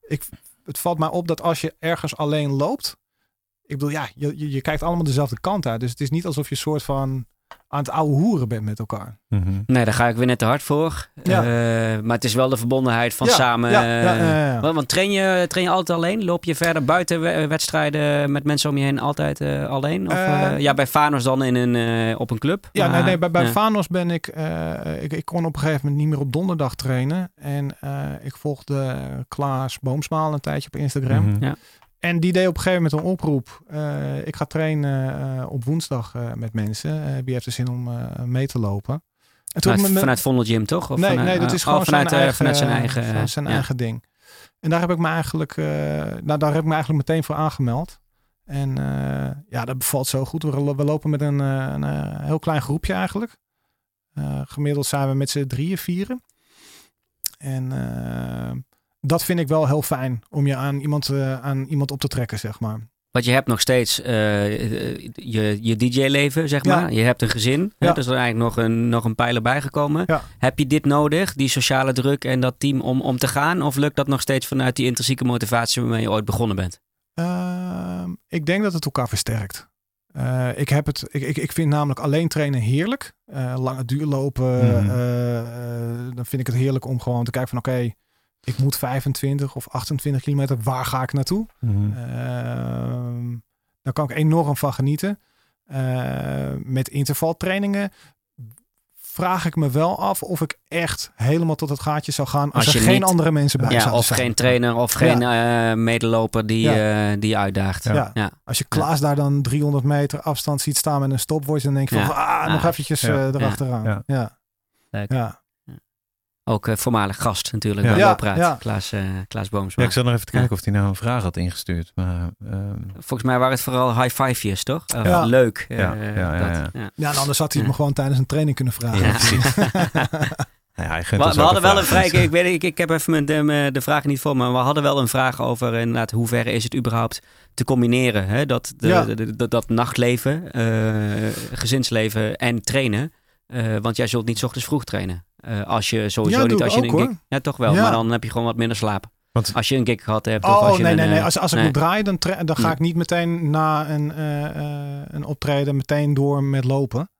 [SPEAKER 3] ik, het valt mij op dat als je ergens alleen loopt, ik bedoel, ja, je, je, je kijkt allemaal dezelfde kant uit. Dus het is niet alsof je soort van aan het ouwe hoeren bent met elkaar.
[SPEAKER 2] Mhm.
[SPEAKER 1] Nee, daar ga ik weer net te hard voor.
[SPEAKER 3] Ja.
[SPEAKER 1] Eh, maar het is wel de verbondenheid van
[SPEAKER 3] Ja,
[SPEAKER 1] samen.
[SPEAKER 3] ja, ja,
[SPEAKER 1] eh,
[SPEAKER 3] ja, ja, ja.
[SPEAKER 1] Want, want train, je, train je altijd alleen? Loop je verder buiten we- wedstrijden met mensen om je heen altijd eh, alleen? Of,
[SPEAKER 3] Eh,
[SPEAKER 1] eh, ja, bij Fanos dan in een, eh, op een club.
[SPEAKER 3] Ja, nee,
[SPEAKER 1] Maar-
[SPEAKER 3] nee, bij, bij
[SPEAKER 1] ja.
[SPEAKER 3] Fanos ben ik, eh, ik... Ik kon op een gegeven moment niet meer op donderdag trainen. En eh, ik volgde Klaas Boomsmaal een tijdje op Instagram.
[SPEAKER 2] Mhm.
[SPEAKER 1] Ja.
[SPEAKER 3] En die deed op een gegeven moment een oproep. eh, ik ga trainen eh, op woensdag eh, met mensen. Eh, wie heeft er zin om eh, mee te lopen? En
[SPEAKER 1] Vanuit,
[SPEAKER 3] me- me-
[SPEAKER 1] vanuit Vondel Gym, toch? Of
[SPEAKER 3] nee,
[SPEAKER 1] vanuit-
[SPEAKER 3] nee, dat
[SPEAKER 1] eh,
[SPEAKER 3] is
[SPEAKER 1] oh,
[SPEAKER 3] gewoon
[SPEAKER 1] vanuit,
[SPEAKER 3] zijn,
[SPEAKER 1] eh,
[SPEAKER 3] eigen,
[SPEAKER 1] vanuit zijn eigen... eh,
[SPEAKER 3] van zijn
[SPEAKER 1] ja.
[SPEAKER 3] eigen ding. En daar heb ik me eigenlijk, eh, nou, daar heb ik me eigenlijk meteen voor aangemeld. En eh, ja, dat bevalt zo goed. We, lo- we lopen met een, eh, een, eh, heel klein groepje eigenlijk. Eh, gemiddeld zijn we met z'n drieën, vieren. En eh, dat vind ik wel heel fijn om je aan iemand, eh, aan iemand op te trekken, zeg maar.
[SPEAKER 1] Want je hebt nog steeds eh, eh, je, je DJ-leven, zeg
[SPEAKER 3] Ja.
[SPEAKER 1] maar. Je hebt een gezin. hè,
[SPEAKER 3] Ja.
[SPEAKER 1] dus er is eigenlijk nog een, nog een pijler bijgekomen.
[SPEAKER 3] Ja.
[SPEAKER 1] Heb je dit nodig, die sociale druk en dat team om, om te gaan? Of lukt dat nog steeds vanuit die intrinsieke motivatie waarmee je ooit begonnen bent?
[SPEAKER 3] Ehm, ik denk dat het elkaar versterkt. Eh, ik, heb het, ik, ik, ik vind namelijk alleen trainen heerlijk. Eh, lange duurlopen,
[SPEAKER 2] Mhm.
[SPEAKER 3] eh, eh, dan vind ik het heerlijk om gewoon te kijken van oké, ik moet 25 of 28 kilometer, waar ga ik naartoe?
[SPEAKER 2] Mhm.
[SPEAKER 3] Ehm, daar kan ik enorm van genieten. Eh, met intervaltrainingen vraag ik me wel af of ik echt helemaal tot het gaatje zou gaan als,
[SPEAKER 1] Als
[SPEAKER 3] er
[SPEAKER 1] je
[SPEAKER 3] geen
[SPEAKER 1] niet-
[SPEAKER 3] andere mensen bij
[SPEAKER 1] Ja,
[SPEAKER 3] zouden
[SPEAKER 1] of
[SPEAKER 3] zijn.
[SPEAKER 1] geen trainer of geen eh, medeloper die, eh, die je uitdaagt.
[SPEAKER 2] Ja.
[SPEAKER 3] Ja.
[SPEAKER 1] Ja.
[SPEAKER 3] Als je Klaas daar dan 300 meter afstand ziet staan met een stopwatch, dan denk je van, ah, nog
[SPEAKER 1] Ah,
[SPEAKER 3] eventjes
[SPEAKER 2] ja,
[SPEAKER 3] eh, erachteraan.
[SPEAKER 2] ja.
[SPEAKER 3] Ja. Ja.
[SPEAKER 1] Leuk.
[SPEAKER 3] Ja.
[SPEAKER 1] Ook eh, voormalig gast natuurlijk
[SPEAKER 2] Ja.
[SPEAKER 1] bij
[SPEAKER 3] Ja,
[SPEAKER 1] Loopraad,
[SPEAKER 3] ja.
[SPEAKER 1] Klaas, eh, Klaas Boomsma.
[SPEAKER 2] Ja, ik zal nog even kijken of hij nou een vraag had ingestuurd. Maar, ehm,
[SPEAKER 1] Volgens mij waren het vooral high-fivejes, toch? Of
[SPEAKER 3] Ja.
[SPEAKER 1] Leuk. eh,
[SPEAKER 2] Ja, ja, ja,
[SPEAKER 1] dat,
[SPEAKER 2] ja.
[SPEAKER 1] ja.
[SPEAKER 3] en anders had hij
[SPEAKER 1] Ja.
[SPEAKER 3] het me gewoon tijdens een training kunnen vragen.
[SPEAKER 1] Ja, precies.
[SPEAKER 2] Nou ja, hij
[SPEAKER 1] We,
[SPEAKER 2] gunt ons
[SPEAKER 1] we
[SPEAKER 2] ook
[SPEAKER 1] hadden wel een
[SPEAKER 2] vraag,
[SPEAKER 1] vraag.
[SPEAKER 2] dus,
[SPEAKER 1] Ik, weet, ik, ik heb even mijn- de, mijn- de vraag niet voor me. Maar we hadden wel een vraag over inderdaad, hoe ver is het überhaupt te combineren? Hè? Dat, de,
[SPEAKER 3] Ja.
[SPEAKER 1] de- de- dat, dat nachtleven, eh, gezinsleven en trainen. Eh, want jij zult niet 's ochtends vroeg trainen. Eh, als je sowieso
[SPEAKER 3] Ja, doe
[SPEAKER 1] niet
[SPEAKER 3] ik
[SPEAKER 1] als je
[SPEAKER 3] ook,
[SPEAKER 1] een
[SPEAKER 3] hoor.
[SPEAKER 1] gig. Ja, toch wel.
[SPEAKER 3] Ja.
[SPEAKER 1] Maar dan heb je gewoon wat minder slaap.
[SPEAKER 2] Want-
[SPEAKER 1] als je een gig gehad hebt. of
[SPEAKER 3] Oh,
[SPEAKER 1] als je
[SPEAKER 3] nee,
[SPEAKER 1] een,
[SPEAKER 3] nee, nee.
[SPEAKER 1] eh,
[SPEAKER 3] Als, als ik
[SPEAKER 1] nee.
[SPEAKER 3] moet draaien, dan, tra- dan ga
[SPEAKER 1] Nee.
[SPEAKER 3] ik niet meteen na een, eh, eh, een optreden meteen door met lopen.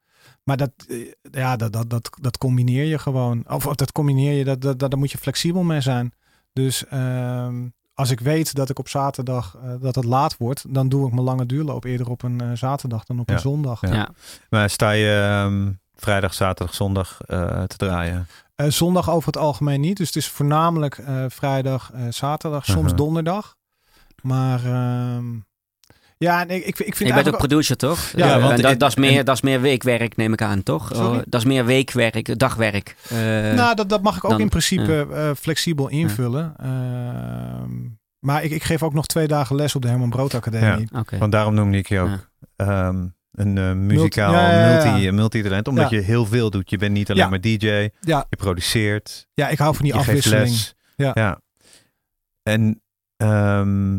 [SPEAKER 3] Maar dat, eh, ja, dat, dat, dat, dat combineer je gewoon. Of of dat combineer je, dat, dat, dat, daar moet je flexibel mee zijn. Dus ehm, als ik weet dat ik op zaterdag, eh, dat het laat wordt, dan doe ik mijn lange duurloop eerder op een eh, zaterdag dan op
[SPEAKER 2] Ja.
[SPEAKER 3] een zondag.
[SPEAKER 2] Ja. Maar sta je ehm, vrijdag, zaterdag, zondag eh, te draaien?
[SPEAKER 3] Eh, zondag over het algemeen niet. Dus het is voornamelijk eh, vrijdag, eh, zaterdag, soms
[SPEAKER 1] Uh-huh.
[SPEAKER 2] Mhm.
[SPEAKER 3] donderdag. Maar ehm, ja, en ik, ik, ik
[SPEAKER 1] je
[SPEAKER 3] vind
[SPEAKER 1] bent ook
[SPEAKER 3] eigenlijk...
[SPEAKER 1] producer, toch?
[SPEAKER 3] Ja,
[SPEAKER 1] Ja,
[SPEAKER 2] want
[SPEAKER 1] want dat,
[SPEAKER 2] het-
[SPEAKER 1] dat, is meer,
[SPEAKER 2] en-
[SPEAKER 1] dat is meer weekwerk, neem ik aan, toch?
[SPEAKER 3] Sorry?
[SPEAKER 1] Oh, dat is meer weekwerk, dagwerk. Eh,
[SPEAKER 3] nou, dat, dat mag ik ook
[SPEAKER 1] dan-
[SPEAKER 3] in principe eh, flexibel invullen. Ehm, maar ik, ik geef ook nog twee dagen les op de Herman Brood Academie.
[SPEAKER 1] Oké.
[SPEAKER 2] Want daarom noemde ik je ook
[SPEAKER 1] Ja.
[SPEAKER 2] ehm, een eh, muzikaal
[SPEAKER 3] ja, ja, ja.
[SPEAKER 2] multi, multitalent. Omdat
[SPEAKER 3] Ja.
[SPEAKER 2] je heel veel doet. Je bent niet alleen
[SPEAKER 3] Ja.
[SPEAKER 2] maar DJ.
[SPEAKER 3] Ja.
[SPEAKER 2] Je produceert.
[SPEAKER 3] Ja, ik hou van die
[SPEAKER 2] je geeft
[SPEAKER 3] afwisseling.
[SPEAKER 2] les.
[SPEAKER 3] Ja.
[SPEAKER 2] En ehm,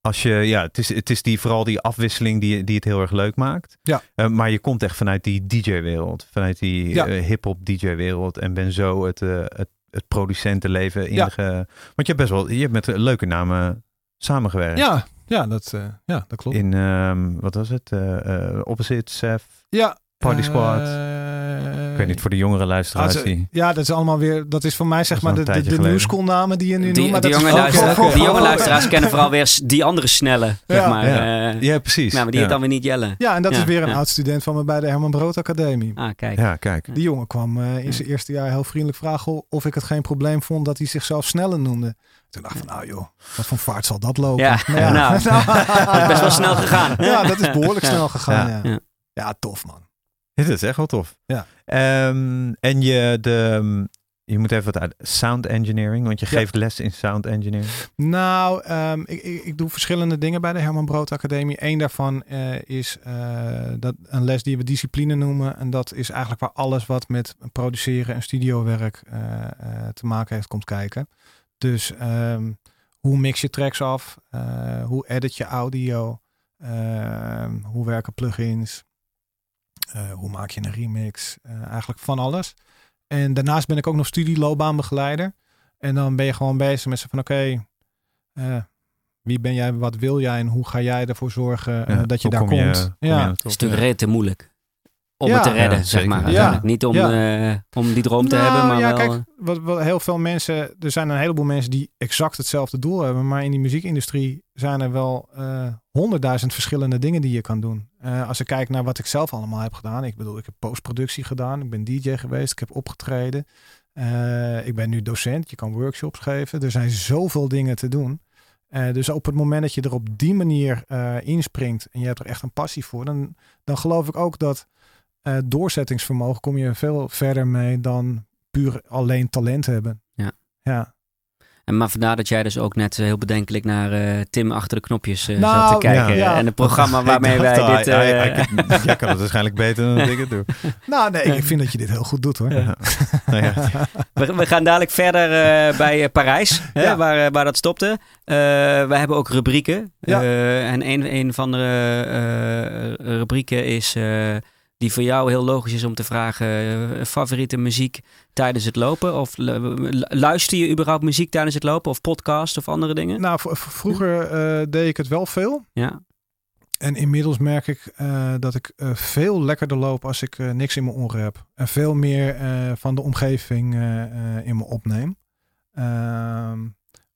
[SPEAKER 2] als je, ja, het is, het is die, vooral die afwisseling die, die het heel erg leuk maakt.
[SPEAKER 3] Ja.
[SPEAKER 2] Eh, maar je komt echt vanuit die DJ-wereld. Vanuit die
[SPEAKER 3] Ja.
[SPEAKER 2] eh, hip-hop DJ-wereld. En ben zo het, eh, het, het producentenleven
[SPEAKER 3] Ja.
[SPEAKER 2] inge... Want je hebt best wel, je hebt met eh, leuke namen samengewerkt.
[SPEAKER 3] Ja, ja, dat, eh, ja, dat klopt.
[SPEAKER 2] In, ehm, wat was het? eh eh Opposite, Seth.
[SPEAKER 3] ja,
[SPEAKER 2] Party
[SPEAKER 3] eh,
[SPEAKER 2] Squad. Ik weet niet, voor de jongere luisteraars
[SPEAKER 3] Ah, ze-
[SPEAKER 2] die...
[SPEAKER 3] Ja, dat is allemaal weer... Dat is voor mij zeg
[SPEAKER 2] Dat is
[SPEAKER 3] maar
[SPEAKER 2] al
[SPEAKER 3] de,
[SPEAKER 2] een
[SPEAKER 3] de, de
[SPEAKER 2] tijdje geleden.
[SPEAKER 3] new school namen die je
[SPEAKER 1] Die,
[SPEAKER 3] nu noemt.
[SPEAKER 1] die,
[SPEAKER 3] maar dat
[SPEAKER 1] jonge
[SPEAKER 3] is ook-
[SPEAKER 1] luisteraars, die jonge luisteraars kennen vooral weer s- die andere snelle, zeg
[SPEAKER 3] Ja.
[SPEAKER 1] maar.
[SPEAKER 2] Ja.
[SPEAKER 1] eh.
[SPEAKER 2] Ja, precies.
[SPEAKER 1] nou, maar die
[SPEAKER 2] ja.
[SPEAKER 1] het dan weer niet jellen.
[SPEAKER 3] Ja, en dat
[SPEAKER 1] Ja,
[SPEAKER 3] is weer een
[SPEAKER 1] ja.
[SPEAKER 3] oud student van me bij de Herman Brood Academie.
[SPEAKER 1] Ah, kijk.
[SPEAKER 2] ja, kijk.
[SPEAKER 3] Die jongen kwam eh, in
[SPEAKER 1] Ja.
[SPEAKER 3] zijn eerste jaar heel vriendelijk vragen of ik het geen probleem vond dat hij zichzelf sneller noemde. Toen dacht ik van, nou joh, wat voor vaart zal dat lopen?
[SPEAKER 1] Ja, nou, dat is best wel snel gegaan.
[SPEAKER 3] Ja, dat is behoorlijk snel gegaan. Ja,
[SPEAKER 1] Ja.
[SPEAKER 3] ja. tof man.
[SPEAKER 2] Dit is echt wel tof.
[SPEAKER 3] Ja.
[SPEAKER 2] Ehm, en je, de, ehm, je moet even wat uit. Sound engineering, want je
[SPEAKER 3] Ja.
[SPEAKER 2] geeft les in sound engineering.
[SPEAKER 3] Nou, ehm, ik, ik, ik doe verschillende dingen bij de Herman Brood Academie. Eén daarvan eh, is eh, dat een les die we discipline noemen. En dat is eigenlijk waar alles wat met produceren en studiowerk eh, eh, te maken heeft komt kijken. Dus ehm, hoe mix je tracks af? Eh, hoe edit je audio? Ehm, hoe werken plugins? Eh, hoe maak je een remix? Eh, eigenlijk van alles. En daarnaast ben ik ook nog studieloopbaanbegeleider. En dan ben je gewoon bezig met ze van oké, eh, wie ben jij, wat wil jij en hoe ga jij ervoor zorgen eh,
[SPEAKER 2] Ja,
[SPEAKER 3] dat je
[SPEAKER 2] hoe
[SPEAKER 3] daar
[SPEAKER 2] kom
[SPEAKER 3] komt?
[SPEAKER 2] kom je
[SPEAKER 3] ja.
[SPEAKER 2] aan de top?
[SPEAKER 1] Het is natuurlijk rete moeilijk om
[SPEAKER 3] Ja.
[SPEAKER 1] het te redden,
[SPEAKER 2] Ja,
[SPEAKER 1] zeg
[SPEAKER 2] zeker.
[SPEAKER 1] maar.
[SPEAKER 2] Ja.
[SPEAKER 1] uiteindelijk. Niet om, eh, om die droom te
[SPEAKER 3] Nou,
[SPEAKER 1] hebben, maar
[SPEAKER 3] ja,
[SPEAKER 1] wel... eh,
[SPEAKER 3] kijk, wat, wat heel veel mensen, er zijn een heleboel mensen die exact hetzelfde doel hebben, maar in die muziekindustrie zijn er wel eh, honderdduizend verschillende dingen die je kan doen. Eh, als ik kijk naar wat ik zelf allemaal heb gedaan, ik bedoel, ik heb postproductie gedaan, ik ben DJ geweest, ik heb opgetreden, eh, ik ben nu docent, je kan workshops geven, er zijn zoveel dingen te doen. Eh, dus op het moment dat je er op die manier eh, inspringt en je hebt er echt een passie voor, dan, dan geloof ik ook dat eh, doorzettingsvermogen kom je veel verder mee dan puur alleen talent hebben.
[SPEAKER 1] Ja.
[SPEAKER 3] Ja.
[SPEAKER 1] En maar vandaar dat jij dus ook net eh, heel bedenkelijk naar eh, Tim achter de knopjes eh,
[SPEAKER 3] Nou,
[SPEAKER 1] zat te kijken.
[SPEAKER 3] ja.
[SPEAKER 1] En het programma waarmee
[SPEAKER 2] Ik
[SPEAKER 1] wij
[SPEAKER 2] dacht al,
[SPEAKER 1] dit...
[SPEAKER 2] hij-
[SPEAKER 1] eh,
[SPEAKER 2] hij- hij- jij kan het waarschijnlijk beter dan ik het doe.
[SPEAKER 3] Nou, nee, ik vind dat je dit heel goed doet hoor.
[SPEAKER 2] Ja. Nou ja.
[SPEAKER 1] we, we gaan dadelijk verder eh, bij eh, Parijs, hè,
[SPEAKER 3] Ja.
[SPEAKER 1] waar, eh, waar dat stopte. Eh, we hebben ook rubrieken.
[SPEAKER 3] Ja.
[SPEAKER 1] Eh, en een, een van de eh, rubrieken is... eh, die voor jou heel logisch is om te vragen, eh, favoriete muziek tijdens het lopen? Of lu- luister je überhaupt muziek tijdens het lopen? Of podcast of andere dingen?
[SPEAKER 3] Nou, v- v- vroeger eh, deed ik het wel veel.
[SPEAKER 1] Ja,
[SPEAKER 3] En inmiddels merk ik eh, dat ik eh, veel lekkerder loop als ik eh, niks in mijn oren heb. En veel meer eh, van de omgeving eh, eh, in me opneem. Ehm,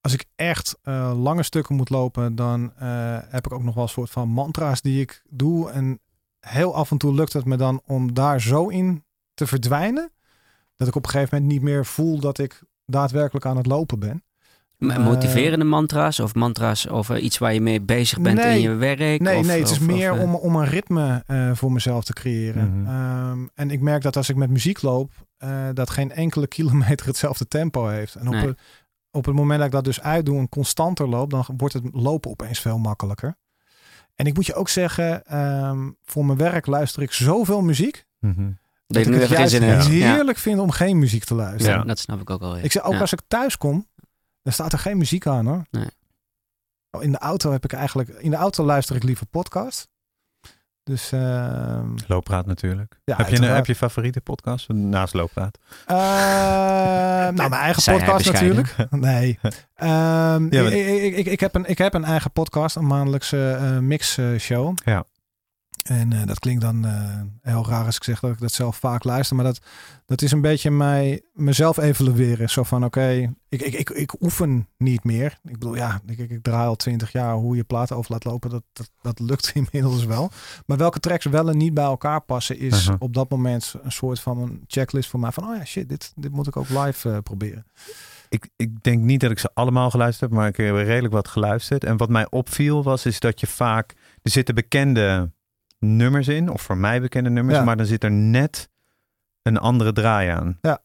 [SPEAKER 3] als ik echt eh, lange stukken moet lopen, dan eh, heb ik ook nog wel een soort van mantra's die ik doe. En heel af en toe lukt het me dan om daar zo in te verdwijnen. Dat ik op een gegeven moment niet meer voel dat ik daadwerkelijk aan het lopen ben.
[SPEAKER 1] M-
[SPEAKER 3] Eh,
[SPEAKER 1] Motiverende mantra's of mantra's over iets waar je mee bezig bent
[SPEAKER 3] Nee.
[SPEAKER 1] in je werk?
[SPEAKER 3] Nee,
[SPEAKER 1] of,
[SPEAKER 3] nee het is
[SPEAKER 1] of- of,
[SPEAKER 3] meer
[SPEAKER 1] eh,
[SPEAKER 3] om, om een ritme eh, voor mezelf te creëren.
[SPEAKER 2] Mhm.
[SPEAKER 3] Ehm, en ik merk dat als ik met muziek loop, eh, dat geen enkele kilometer hetzelfde tempo heeft. En op,
[SPEAKER 1] Nee.
[SPEAKER 3] het, op het moment dat ik dat dus uitdoe en constanter loop, dan wordt het lopen opeens veel makkelijker. En ik moet je ook zeggen, ehm, voor mijn werk luister ik zoveel muziek.
[SPEAKER 2] Mhm.
[SPEAKER 3] Dat
[SPEAKER 1] ik
[SPEAKER 3] ik
[SPEAKER 1] nu
[SPEAKER 3] het
[SPEAKER 1] even geen
[SPEAKER 3] juist
[SPEAKER 1] zin in heb. Ja.
[SPEAKER 3] heerlijk vind om geen muziek te luisteren.
[SPEAKER 2] Ja.
[SPEAKER 1] Dat snap ik ook al. Ja.
[SPEAKER 3] Ik zeg, ook
[SPEAKER 1] Ja.
[SPEAKER 3] als ik thuis kom, dan staat er geen muziek aan hoor.
[SPEAKER 1] Nee.
[SPEAKER 3] Oh, In de auto heb ik eigenlijk, in de auto luister ik liever podcast. Dus ehm,
[SPEAKER 2] Looppraat natuurlijk.
[SPEAKER 3] Ja,
[SPEAKER 2] heb, je een,
[SPEAKER 3] uiteraard.
[SPEAKER 2] heb je favoriete podcast naast Looppraat?
[SPEAKER 3] Ehm, Eh, nou, mijn eigen
[SPEAKER 1] Zei hij
[SPEAKER 3] podcast
[SPEAKER 1] bescheiden.
[SPEAKER 3] natuurlijk. Nee. Ehm,
[SPEAKER 2] Ja, maar-
[SPEAKER 3] ik, ik, ik, ik, heb een, ik heb een eigen podcast, een maandelijkse eh, mix-show.
[SPEAKER 2] Ja.
[SPEAKER 3] En eh, dat klinkt dan eh, heel raar als ik zeg dat ik dat zelf vaak luister. Maar dat, dat is een beetje mij, mezelf evalueren. Zo van, oké, ik, ik, ik, ik oefen niet meer. Ik bedoel, ja, ik, ik, ik draai al twintig jaar hoe je platen over laat lopen. Dat, dat, dat lukt inmiddels wel. Maar welke tracks wel en niet bij elkaar passen, is
[SPEAKER 2] Mhm.
[SPEAKER 3] op dat moment een soort van een checklist voor mij. Van, oh ja, shit, dit, dit moet ik ook live eh, proberen.
[SPEAKER 2] Ik, ik denk niet dat ik ze allemaal geluisterd heb, maar ik heb redelijk wat geluisterd. En wat mij opviel was, is dat je vaak... Er zitten bekende nummers in, of voor mij bekende nummers,
[SPEAKER 3] Ja.
[SPEAKER 2] maar dan zit er net een andere draai aan.
[SPEAKER 3] Ja.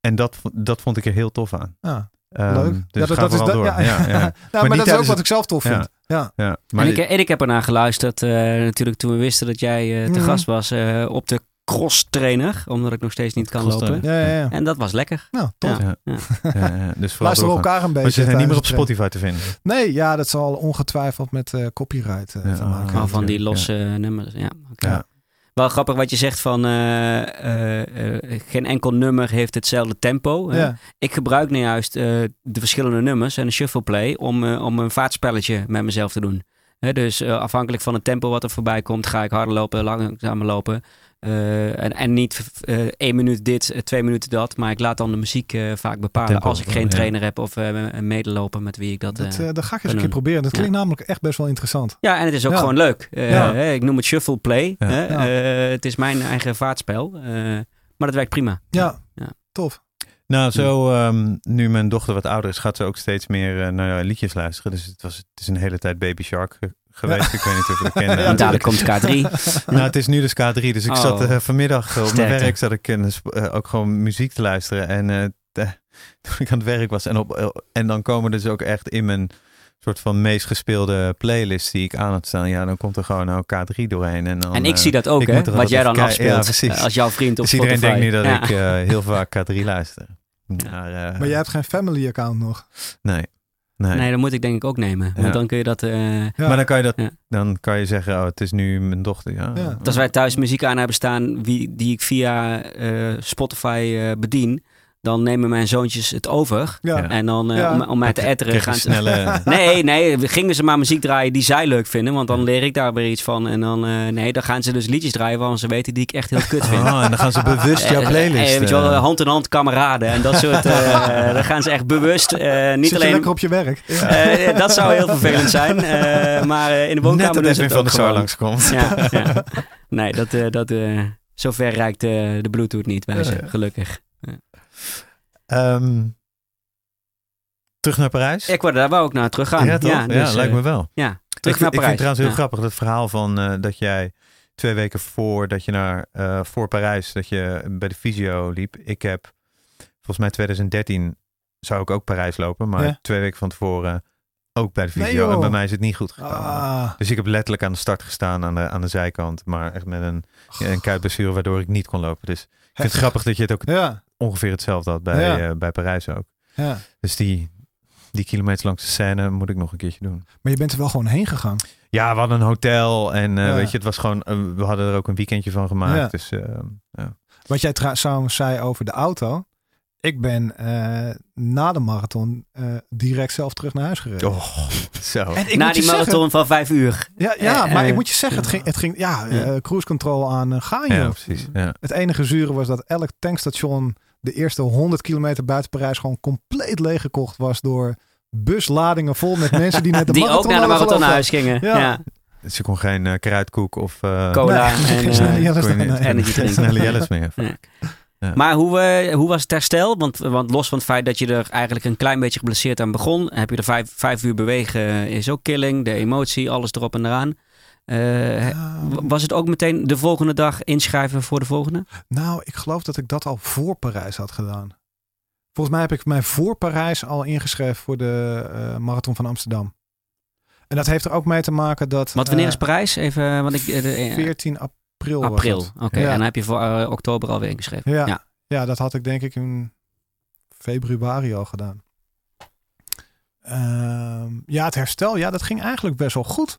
[SPEAKER 2] En dat, vo- dat vond ik er heel tof aan.
[SPEAKER 3] Ja,
[SPEAKER 2] Ehm,
[SPEAKER 3] leuk.
[SPEAKER 2] Dus ga vooral door. Ja, ja.
[SPEAKER 3] Nou, Ah. maar,
[SPEAKER 2] niet
[SPEAKER 3] dat is ook
[SPEAKER 2] tijdens
[SPEAKER 3] wat
[SPEAKER 2] het-
[SPEAKER 3] ik zelf tof
[SPEAKER 2] Ja.
[SPEAKER 3] vind. Ja.
[SPEAKER 2] Ja, maar
[SPEAKER 1] En ik, en ik heb ernaar geluisterd, eh, natuurlijk toen we wisten dat jij eh, te
[SPEAKER 3] Mhm.
[SPEAKER 1] gast was, eh, op de cross trainer, omdat ik nog steeds niet kan
[SPEAKER 2] Cross
[SPEAKER 1] lopen.
[SPEAKER 2] trainer.
[SPEAKER 3] Ja, ja, ja.
[SPEAKER 1] En dat was lekker.
[SPEAKER 3] Nou, tof.
[SPEAKER 2] Ja,
[SPEAKER 1] Ja.
[SPEAKER 2] ja, ja. Dus vooral
[SPEAKER 3] Luisteren we
[SPEAKER 2] doorgaan.
[SPEAKER 3] elkaar een beetje.
[SPEAKER 2] Maar ze zijn niet meer op
[SPEAKER 3] tijdens het
[SPEAKER 2] Spotify te vinden.
[SPEAKER 3] trainen. Nee, ja, dat zal ongetwijfeld met eh, copyright eh,
[SPEAKER 2] Ja,
[SPEAKER 3] te maken
[SPEAKER 1] Gewoon
[SPEAKER 2] ah,
[SPEAKER 1] van
[SPEAKER 3] hebben.
[SPEAKER 1] die
[SPEAKER 2] natuurlijk,
[SPEAKER 1] losse eh, nummers. Ja, oké.
[SPEAKER 2] Ja.
[SPEAKER 1] Wel grappig wat je zegt van eh, eh, eh, geen enkel nummer heeft hetzelfde tempo. hè.
[SPEAKER 3] Ja.
[SPEAKER 1] Ik gebruik nu juist eh, de verschillende nummers en de shuffle play om, eh, om een vaartspelletje met mezelf te doen. Hè, dus eh, afhankelijk van het tempo wat er voorbij komt, ga ik harder lopen, langzamer lopen. Eh, en, en niet eh, één minuut dit, eh, twee minuten dat. Maar ik laat dan de muziek eh, vaak bepalen
[SPEAKER 2] Tempo,
[SPEAKER 1] als ik geen
[SPEAKER 2] ja.
[SPEAKER 1] trainer heb of eh, een medeloper met wie ik dat...
[SPEAKER 3] Dat,
[SPEAKER 1] eh,
[SPEAKER 3] eh dat ga ik eens een
[SPEAKER 1] doen.
[SPEAKER 3] keer proberen. Dat
[SPEAKER 1] Ja.
[SPEAKER 3] klinkt namelijk echt best wel interessant.
[SPEAKER 1] ja, en het is ook
[SPEAKER 3] Ja.
[SPEAKER 1] gewoon leuk. Eh,
[SPEAKER 3] Ja.
[SPEAKER 1] hè, ik noem het shuffle play.
[SPEAKER 2] Ja.
[SPEAKER 1] hè.
[SPEAKER 3] Ja.
[SPEAKER 1] Eh, het is mijn eigen vaartspel. eh, maar dat werkt prima.
[SPEAKER 3] Ja,
[SPEAKER 1] Ja.
[SPEAKER 3] tof.
[SPEAKER 2] Nou, zo ehm, nu mijn dochter wat ouder is, gaat ze ook steeds meer eh, naar liedjes luisteren. Dus het, was, het is een hele tijd Baby Shark eh, geweest. Ik weet niet of je dat kent.
[SPEAKER 1] Want dadelijk komt K3.
[SPEAKER 2] Nou, het is nu dus K3. Dus ik
[SPEAKER 1] Oh.
[SPEAKER 2] zat eh, vanmiddag op mijn
[SPEAKER 1] Sterkte.
[SPEAKER 2] werk zat ik in de sp- eh, ook gewoon muziek te luisteren. En eh, t- toen ik aan het werk was. En, op, eh, en dan komen dus ook echt in mijn soort van meest gespeelde playlist die ik aan heb staan. Ja, dan komt er gewoon nou K3 doorheen. En, dan,
[SPEAKER 1] En ik
[SPEAKER 2] eh,
[SPEAKER 1] zie dat ook,
[SPEAKER 2] ik
[SPEAKER 1] hè?
[SPEAKER 2] moet er
[SPEAKER 1] Wat jij dan
[SPEAKER 2] altijd kijken. Ja,
[SPEAKER 1] afspeelt
[SPEAKER 2] precies.
[SPEAKER 1] eh, als jouw vriend op
[SPEAKER 2] Dus iedereen
[SPEAKER 1] Spotify.
[SPEAKER 2] denkt nu dat
[SPEAKER 1] Ja.
[SPEAKER 2] ik eh, heel vaak K3 luister. Maar, eh,
[SPEAKER 3] Maar jij hebt geen family account nog.
[SPEAKER 2] Nee. Nee.
[SPEAKER 1] Nee, dat moet ik denk ik ook nemen. Want
[SPEAKER 2] Ja.
[SPEAKER 1] dan kun je dat... eh,
[SPEAKER 3] Ja.
[SPEAKER 2] Maar dan kan je dat,
[SPEAKER 1] Ja.
[SPEAKER 2] dan kan je zeggen, oh, het is nu mijn dochter. Ja.
[SPEAKER 3] Ja.
[SPEAKER 1] Want als wij thuis muziek aan hebben staan wie, die ik via eh, Spotify eh, bedien, dan nemen mijn zoontjes het over.
[SPEAKER 3] Ja.
[SPEAKER 2] Ja.
[SPEAKER 1] En dan eh,
[SPEAKER 3] Ja.
[SPEAKER 1] om, om mij te
[SPEAKER 2] Krijg je-
[SPEAKER 1] etteren
[SPEAKER 2] krijg je eh,
[SPEAKER 1] gaan ze-
[SPEAKER 2] snelle.
[SPEAKER 1] Nee, nee, we gingen ze maar muziek draaien die zij leuk vinden, want dan leer ik daar weer iets van. En dan, eh, nee, dan gaan ze dus liedjes draaien waarvan ze weten die ik echt heel kut vind.
[SPEAKER 2] Oh, en dan gaan ze bewust jouw
[SPEAKER 1] Eh,
[SPEAKER 2] playlist.
[SPEAKER 1] eh, weet je wel,
[SPEAKER 2] eh,
[SPEAKER 1] hand in hand kameraden en dat soort. eh dan gaan ze echt bewust. eh, niet
[SPEAKER 3] Zit je
[SPEAKER 1] alleen
[SPEAKER 3] lekker op je werk?
[SPEAKER 1] Eh, eh, dat zou heel vervelend zijn. eh, maar eh, in de
[SPEAKER 2] Net
[SPEAKER 1] woonkamer
[SPEAKER 2] dat
[SPEAKER 1] doen ze
[SPEAKER 2] Edwin
[SPEAKER 1] het
[SPEAKER 2] van
[SPEAKER 1] ook
[SPEAKER 2] der Sar
[SPEAKER 1] gewoon.
[SPEAKER 2] langskomt.
[SPEAKER 1] Ja, ja. Nee, dat, eh, dat, eh, zover reikt eh, de Bluetooth niet bij ze,
[SPEAKER 2] Ja.
[SPEAKER 1] gelukkig.
[SPEAKER 2] Ehm, terug naar Parijs?
[SPEAKER 1] Ik wou daar wou ik naar terug gaan.
[SPEAKER 2] ja, toch? Ja,
[SPEAKER 1] dus, eh,
[SPEAKER 2] lijkt me wel.
[SPEAKER 1] terug
[SPEAKER 2] ik,
[SPEAKER 1] naar
[SPEAKER 2] ik vind
[SPEAKER 1] Parijs.
[SPEAKER 2] het trouwens heel
[SPEAKER 1] Ja.
[SPEAKER 2] grappig dat verhaal van eh, dat jij twee weken voor dat je naar eh, voor Parijs dat je bij de fysio liep. Ik heb volgens mij 2013 zou ik ook Parijs lopen, maar
[SPEAKER 3] Ja.
[SPEAKER 2] twee weken van tevoren ook bij de
[SPEAKER 3] Nee,
[SPEAKER 2] fysio
[SPEAKER 3] joh.
[SPEAKER 2] en bij mij is het niet goed gekomen.
[SPEAKER 3] Ah,
[SPEAKER 2] Dus ik heb letterlijk aan de start gestaan aan de, aan de zijkant, maar echt met een, ja, een kuitblessure waardoor ik niet kon lopen. Dus ik vind het
[SPEAKER 3] Heftig.
[SPEAKER 2] grappig dat je het ook
[SPEAKER 3] ja,
[SPEAKER 2] ongeveer hetzelfde had bij,
[SPEAKER 3] Ja.
[SPEAKER 2] eh, bij Parijs ook.
[SPEAKER 3] ja.
[SPEAKER 2] Dus die, die kilometers langs de scène moet ik nog een keertje doen.
[SPEAKER 3] Maar je bent er wel gewoon heen gegaan.
[SPEAKER 2] Ja, we hadden een hotel en eh,
[SPEAKER 3] Ja.
[SPEAKER 2] weet je, het was gewoon, eh, we hadden er ook een weekendje van gemaakt.
[SPEAKER 3] Ja.
[SPEAKER 2] Dus eh, ja.
[SPEAKER 3] Wat jij tra- trouwens zei over de auto. Ik ben eh, na de marathon eh, direct zelf terug naar huis gereden.
[SPEAKER 2] Oh, zo.
[SPEAKER 3] En ik
[SPEAKER 1] Na
[SPEAKER 3] moet je
[SPEAKER 1] die marathon
[SPEAKER 3] zeggen-
[SPEAKER 1] van vijf uur.
[SPEAKER 3] ja, ja
[SPEAKER 1] Eh,
[SPEAKER 3] maar
[SPEAKER 1] eh,
[SPEAKER 3] ik moet je zeggen, het ging, het ging ja, eh,
[SPEAKER 1] Ja.
[SPEAKER 3] cruise control aan eh, gaan,
[SPEAKER 2] Ja,
[SPEAKER 3] joh.
[SPEAKER 2] precies. Ja.
[SPEAKER 3] Het enige zure was dat elk tankstation de eerste 100 kilometer buiten Parijs gewoon compleet leeggekocht was door busladingen vol met mensen die net de
[SPEAKER 1] Die ook
[SPEAKER 3] marathon
[SPEAKER 1] naar de
[SPEAKER 3] hadden
[SPEAKER 1] marathon naar
[SPEAKER 3] gelopen.
[SPEAKER 1] huis gingen.
[SPEAKER 3] Ja.
[SPEAKER 1] Ja.
[SPEAKER 2] Dus je kon geen eh, kruidkoek of eh,
[SPEAKER 1] Cola.
[SPEAKER 3] Nee,
[SPEAKER 1] en,
[SPEAKER 3] Nou, geen
[SPEAKER 1] eh,
[SPEAKER 3] snelle jellers
[SPEAKER 2] kon je
[SPEAKER 3] dan,
[SPEAKER 2] niet-
[SPEAKER 3] nee.
[SPEAKER 1] en- energy drinken.
[SPEAKER 2] snelle jellers meer.
[SPEAKER 1] Ja. Maar hoe, eh, hoe was het herstel? Want, want los van het feit dat je er eigenlijk een klein beetje geblesseerd aan begon, heb je er vijf, vijf uur bewegen, eh, is ook killing, de emotie, alles erop en eraan. Eh,
[SPEAKER 3] Ja,
[SPEAKER 1] W- Was het ook meteen de volgende dag inschrijven voor de volgende?
[SPEAKER 3] Nou, ik geloof dat ik dat al voor Parijs had gedaan. Volgens mij heb ik mij voor Parijs al ingeschreven voor de eh, marathon van Amsterdam. En dat heeft er ook mee te maken dat.
[SPEAKER 1] Want wanneer
[SPEAKER 3] eh,
[SPEAKER 1] is Parijs? Even, want ik, eh, de- eh,
[SPEAKER 3] 14 april. april. was
[SPEAKER 1] April,
[SPEAKER 3] dat.
[SPEAKER 1] oké.
[SPEAKER 3] Ja.
[SPEAKER 1] En dan heb je voor eh, oktober alweer ingeschreven.
[SPEAKER 3] Ja.
[SPEAKER 1] Ja.
[SPEAKER 3] Ja. dat had ik denk ik in februari al gedaan. Ehm, ja, het herstel, ja, dat ging eigenlijk best wel goed.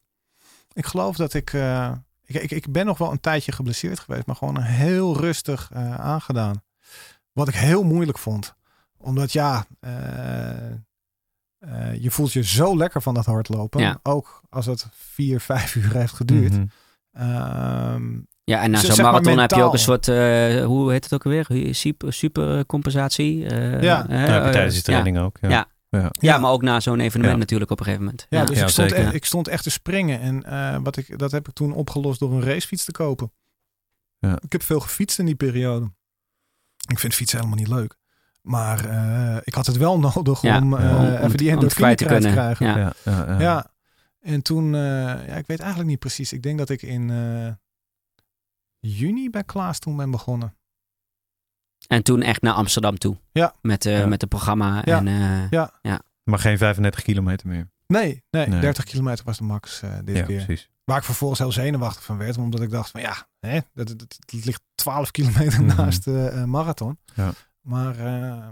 [SPEAKER 3] Ik geloof dat ik, eh, ik, ik, ik ben nog wel een tijdje geblesseerd geweest, maar gewoon heel rustig eh, aangedaan. Wat ik heel moeilijk vond. Omdat ja, eh, eh, je voelt je zo lekker van dat hardlopen.
[SPEAKER 1] Ja.
[SPEAKER 3] Ook als het vier, vijf uur heeft geduurd.
[SPEAKER 2] Mhm.
[SPEAKER 3] Ehm,
[SPEAKER 1] Ja, en na
[SPEAKER 3] Zeg-
[SPEAKER 1] zo'n
[SPEAKER 3] zeg maar
[SPEAKER 1] marathon heb je ook
[SPEAKER 3] mentaal.
[SPEAKER 1] een soort, eh, hoe heet het ook alweer? Super, supercompensatie. eh,
[SPEAKER 3] Ja.
[SPEAKER 1] eh,
[SPEAKER 2] Ja, heb je
[SPEAKER 1] eh,
[SPEAKER 2] tijdens de
[SPEAKER 1] ja.
[SPEAKER 2] training ook. Ja.
[SPEAKER 1] Ja. Ja,
[SPEAKER 3] Ja.
[SPEAKER 1] maar ook na zo'n evenement
[SPEAKER 2] Ja.
[SPEAKER 1] natuurlijk op een gegeven moment.
[SPEAKER 3] Ja, dus
[SPEAKER 2] Ja,
[SPEAKER 3] ik, stond
[SPEAKER 2] zeker.
[SPEAKER 3] echt, ik stond echt te springen. En eh, wat ik, dat heb ik toen opgelost door een racefiets te kopen.
[SPEAKER 2] Ja.
[SPEAKER 3] Ik heb veel gefietst in die periode. Ik vind fietsen helemaal niet leuk. Maar eh, ik had het wel nodig
[SPEAKER 1] Ja,
[SPEAKER 3] om, eh,
[SPEAKER 2] om- om
[SPEAKER 1] het-
[SPEAKER 3] even
[SPEAKER 1] om
[SPEAKER 3] die
[SPEAKER 1] het
[SPEAKER 3] endorfine
[SPEAKER 1] kwijt te
[SPEAKER 3] kwijt te
[SPEAKER 1] kunnen,
[SPEAKER 3] krijgen.
[SPEAKER 1] ja.
[SPEAKER 3] Ja.
[SPEAKER 2] Ja, ja, ja.
[SPEAKER 3] En toen, eh, ja, ik weet eigenlijk niet precies. Ik denk dat ik in eh, juni bij Klaas toen ben begonnen.
[SPEAKER 1] En toen echt naar Amsterdam toe.
[SPEAKER 3] Ja.
[SPEAKER 1] Met, eh
[SPEAKER 2] Ja.
[SPEAKER 1] met het programma.
[SPEAKER 3] Ja.
[SPEAKER 1] En, eh,
[SPEAKER 2] Maar geen 35 kilometer meer.
[SPEAKER 3] Nee, nee,
[SPEAKER 2] Nee.
[SPEAKER 3] 30 kilometer was de max eh, dit
[SPEAKER 2] ja,
[SPEAKER 3] keer.
[SPEAKER 2] precies.
[SPEAKER 3] Waar ik vervolgens heel zenuwachtig van werd. Omdat ik dacht van ja, hè, dat, dat, dat ligt 12 kilometer
[SPEAKER 2] Mhm.
[SPEAKER 3] naast de eh, marathon.
[SPEAKER 2] Ja.
[SPEAKER 3] Maar eh,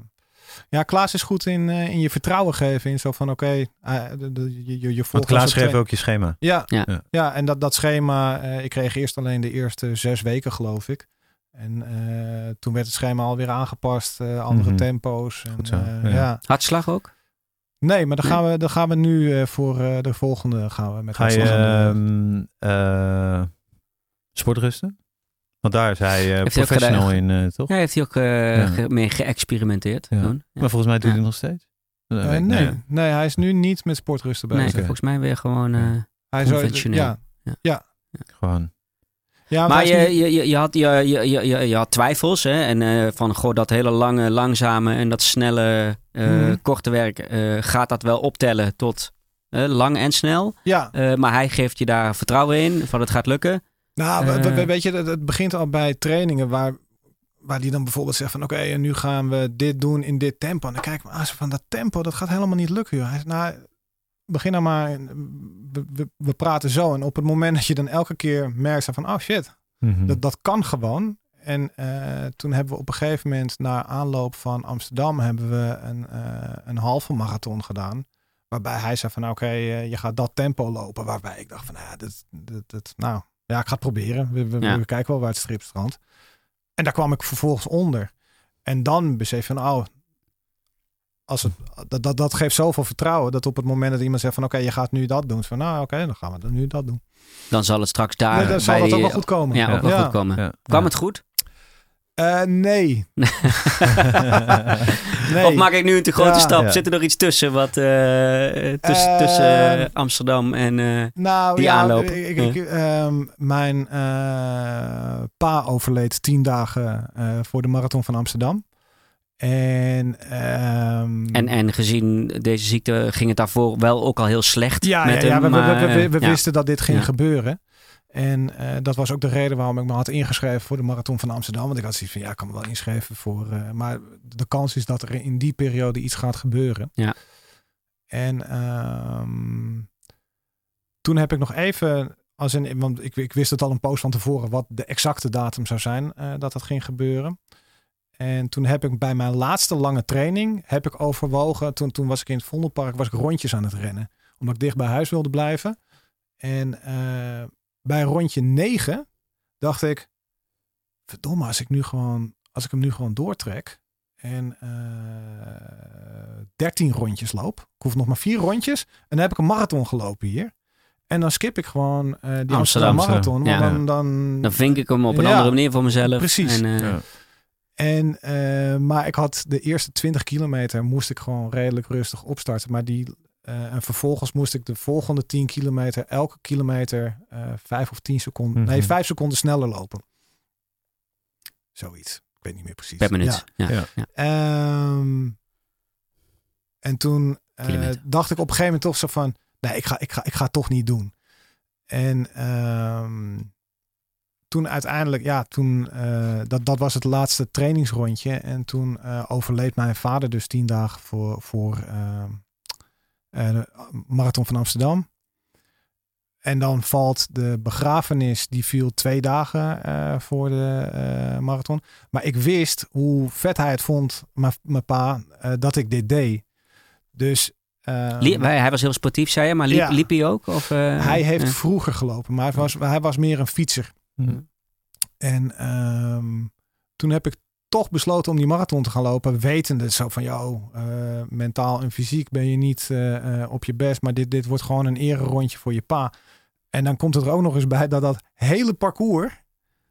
[SPEAKER 3] ja, Klaas is goed in, eh, in je vertrouwen geven. In zo van oké, eh, de- de- je, je, je volgt...
[SPEAKER 2] Want Klaas
[SPEAKER 3] als een
[SPEAKER 2] schreef
[SPEAKER 3] tra-
[SPEAKER 2] ook je schema.
[SPEAKER 3] Ja,
[SPEAKER 1] Ja.
[SPEAKER 2] Ja.
[SPEAKER 3] ja. en dat, dat schema, eh, ik kreeg eerst alleen de eerste zes weken geloof ik. En eh, toen werd het schema alweer aangepast. eh, andere
[SPEAKER 2] Mhm.
[SPEAKER 3] tempo's. En,
[SPEAKER 2] Goed zo,
[SPEAKER 3] eh,
[SPEAKER 2] ja.
[SPEAKER 3] ja.
[SPEAKER 1] Hartslag ook?
[SPEAKER 3] Nee, maar dan
[SPEAKER 1] Nee.
[SPEAKER 3] gaan we, dan gaan we nu eh, voor eh, de volgende gaan we met
[SPEAKER 2] Ga je
[SPEAKER 3] Klaas aan de weg.
[SPEAKER 2] ehm, eh, sportrusten? Want daar is hij eh,
[SPEAKER 1] ook
[SPEAKER 2] professional in, eh, toch?
[SPEAKER 1] Ja, heeft hij ook eh,
[SPEAKER 2] Ja.
[SPEAKER 1] ge- mee geëxperimenteerd
[SPEAKER 2] Ja.
[SPEAKER 1] toen? Ja.
[SPEAKER 2] Maar volgens mij doet hij
[SPEAKER 1] Ja.
[SPEAKER 2] het nog steeds. Dat
[SPEAKER 3] Eh,
[SPEAKER 2] weet ik niet.
[SPEAKER 3] nee. Nee. hij is nu niet met sportrusten
[SPEAKER 1] Nee,
[SPEAKER 3] bezig.
[SPEAKER 2] Oké.
[SPEAKER 1] volgens mij weer gewoon... eh,
[SPEAKER 3] Hij is
[SPEAKER 1] Conventioneel.
[SPEAKER 3] Ja,
[SPEAKER 2] Gewoon.
[SPEAKER 3] ja
[SPEAKER 1] Maar
[SPEAKER 3] maar hij is
[SPEAKER 1] je,
[SPEAKER 3] niet-
[SPEAKER 1] je, je, je had, je, je, je, je- je had twijfels, hè? En eh, van, goh, dat hele lange, langzame en dat snelle, eh,
[SPEAKER 3] Mhm.
[SPEAKER 1] korte werk... eh, gaat dat wel optellen tot eh, lang en snel?
[SPEAKER 3] ja.
[SPEAKER 1] Eh, maar hij geeft je daar vertrouwen in, van het gaat lukken.
[SPEAKER 3] Nou, we- we-
[SPEAKER 1] Eh.
[SPEAKER 3] weet je, dat- het begint al bij trainingen waar, waar die dan bijvoorbeeld zegt van oké, en nu gaan we dit doen in dit tempo. En dan kijk ik me aan ze van dat tempo, dat gaat helemaal niet lukken. Joh. Hij zegt, nou, begin nou maar, we, we, we praten zo. En op het moment dat je dan elke keer merkt van oh shit,
[SPEAKER 2] Mhm.
[SPEAKER 1] Hm.
[SPEAKER 3] Dat, dat kan gewoon. En eh, toen hebben we op een gegeven moment na aanloop van Amsterdam hebben we een, eh, een halve marathon gedaan. Waarbij hij zei van nou, oké, eh, je gaat dat tempo lopen. Waarbij ik dacht van nou, dat, dat, dat, nou ja, ik ga het proberen. We, we,
[SPEAKER 1] Ja.
[SPEAKER 3] we kijken wel waar het strip strandt. En daar kwam ik vervolgens onder. En dan besef je van oh, als het, dat, dat, dat geeft zoveel vertrouwen. Dat op het moment dat iemand zegt van oké, je gaat nu dat doen. Van nou oké, dan gaan we dan nu dat doen.
[SPEAKER 1] Dan zal het straks daar...
[SPEAKER 3] Nee, dan zal
[SPEAKER 1] Ah, bij
[SPEAKER 3] dat ook
[SPEAKER 1] die-
[SPEAKER 3] wel goed komen.
[SPEAKER 1] Ja, ook wel
[SPEAKER 3] Ja.
[SPEAKER 1] goed komen.
[SPEAKER 2] Ja.
[SPEAKER 1] Kwam het goed?
[SPEAKER 3] Eh, nee. nee.
[SPEAKER 1] Of maak ik nu een te grote
[SPEAKER 3] Ja.
[SPEAKER 1] stap?
[SPEAKER 2] Ja.
[SPEAKER 1] Zit er nog iets tussen wat eh, eh, tussen,
[SPEAKER 3] Eh.
[SPEAKER 1] tussen eh, Amsterdam en eh,
[SPEAKER 3] nou,
[SPEAKER 1] die
[SPEAKER 3] ja,
[SPEAKER 1] aanloop?
[SPEAKER 3] Ik, ik- ik- ehm, mijn eh, pa overleed tien dagen eh, voor de marathon van Amsterdam. En, ehm,
[SPEAKER 1] en, en gezien deze ziekte ging het daarvoor wel ook al heel slecht.
[SPEAKER 3] ja,
[SPEAKER 1] met
[SPEAKER 3] ja, ja,
[SPEAKER 1] hem,
[SPEAKER 3] we, we-
[SPEAKER 1] maar,
[SPEAKER 3] we- we- we
[SPEAKER 1] eh, ja.
[SPEAKER 3] wisten dat dit ging
[SPEAKER 1] Ja.
[SPEAKER 3] gebeuren. En eh, dat was ook de reden waarom ik me had ingeschreven voor de marathon van Amsterdam. Want ik had zoiets van, ja, ik kan me wel inschrijven voor... eh, maar de kans is dat er in die periode iets gaat gebeuren.
[SPEAKER 1] Ja.
[SPEAKER 3] En ehm, toen heb ik nog even... Als in, want ik, ik wist het al een poos van tevoren wat de exacte datum zou zijn eh, dat dat ging gebeuren. En toen heb ik bij mijn laatste lange training heb ik overwogen. Toen, toen was ik in het Vondelpark was ik rondjes aan het rennen. Omdat ik dicht bij huis wilde blijven. En eh, bij rondje 9 dacht ik. Verdomme, als ik nu gewoon, als ik hem nu gewoon doortrek. En eh 13 rondjes loop. Ik hoef nog maar vier rondjes. En dan heb ik een marathon gelopen hier. En dan skip ik gewoon eh, die Amsterdam,
[SPEAKER 1] Amsterdam,
[SPEAKER 3] Marathon.
[SPEAKER 1] ja.
[SPEAKER 3] Want dan, dan,
[SPEAKER 1] Dan vink ik hem op een
[SPEAKER 3] Ja.
[SPEAKER 1] andere manier voor mezelf.
[SPEAKER 3] Precies.
[SPEAKER 1] En, eh,
[SPEAKER 2] Ja.
[SPEAKER 3] En, eh, maar ik had de eerste 20 kilometer moest ik gewoon redelijk rustig opstarten. Maar die, eh, en vervolgens moest ik de volgende 10 kilometer, elke kilometer eh 5 of 10 seconden,
[SPEAKER 2] Mhm.
[SPEAKER 3] nee, 5 seconden sneller lopen. Zoiets. Ik weet niet meer precies.
[SPEAKER 1] per minuut.
[SPEAKER 3] Ja.
[SPEAKER 1] Ja. Ja.
[SPEAKER 2] Ja.
[SPEAKER 3] Ehm, en toen eh,
[SPEAKER 1] Kilometer.
[SPEAKER 3] dacht ik op een gegeven moment toch zo van... Nee, ik ga, ik ga, ik ga het toch niet doen. En ehm, toen uiteindelijk... Ja, toen, eh, dat, dat was het laatste trainingsrondje. En toen eh, overleed mijn vader dus tien dagen voor, voor ehm, eh, de Marathon van Amsterdam. en dan valt de begrafenis, die viel twee dagen eh, voor de eh, marathon. Maar ik wist hoe vet hij het vond, mijn mijn pa, eh, dat ik dit deed. Dus... eh,
[SPEAKER 1] Liep- hij hij was heel sportief, zei je, maar liep,
[SPEAKER 3] Ja.
[SPEAKER 1] liep hij ook? Of, eh,
[SPEAKER 3] hij heeft
[SPEAKER 1] eh,
[SPEAKER 3] vroeger gelopen, maar hij was, hij was meer een fietser. En ehm, toen heb ik toch besloten om die marathon te gaan lopen. Wetende zo van, joh, eh, mentaal en fysiek ben je niet eh, eh, op je best. Maar dit, dit wordt gewoon een ere rondje voor je pa. En dan komt het er ook nog eens bij dat dat hele parcours...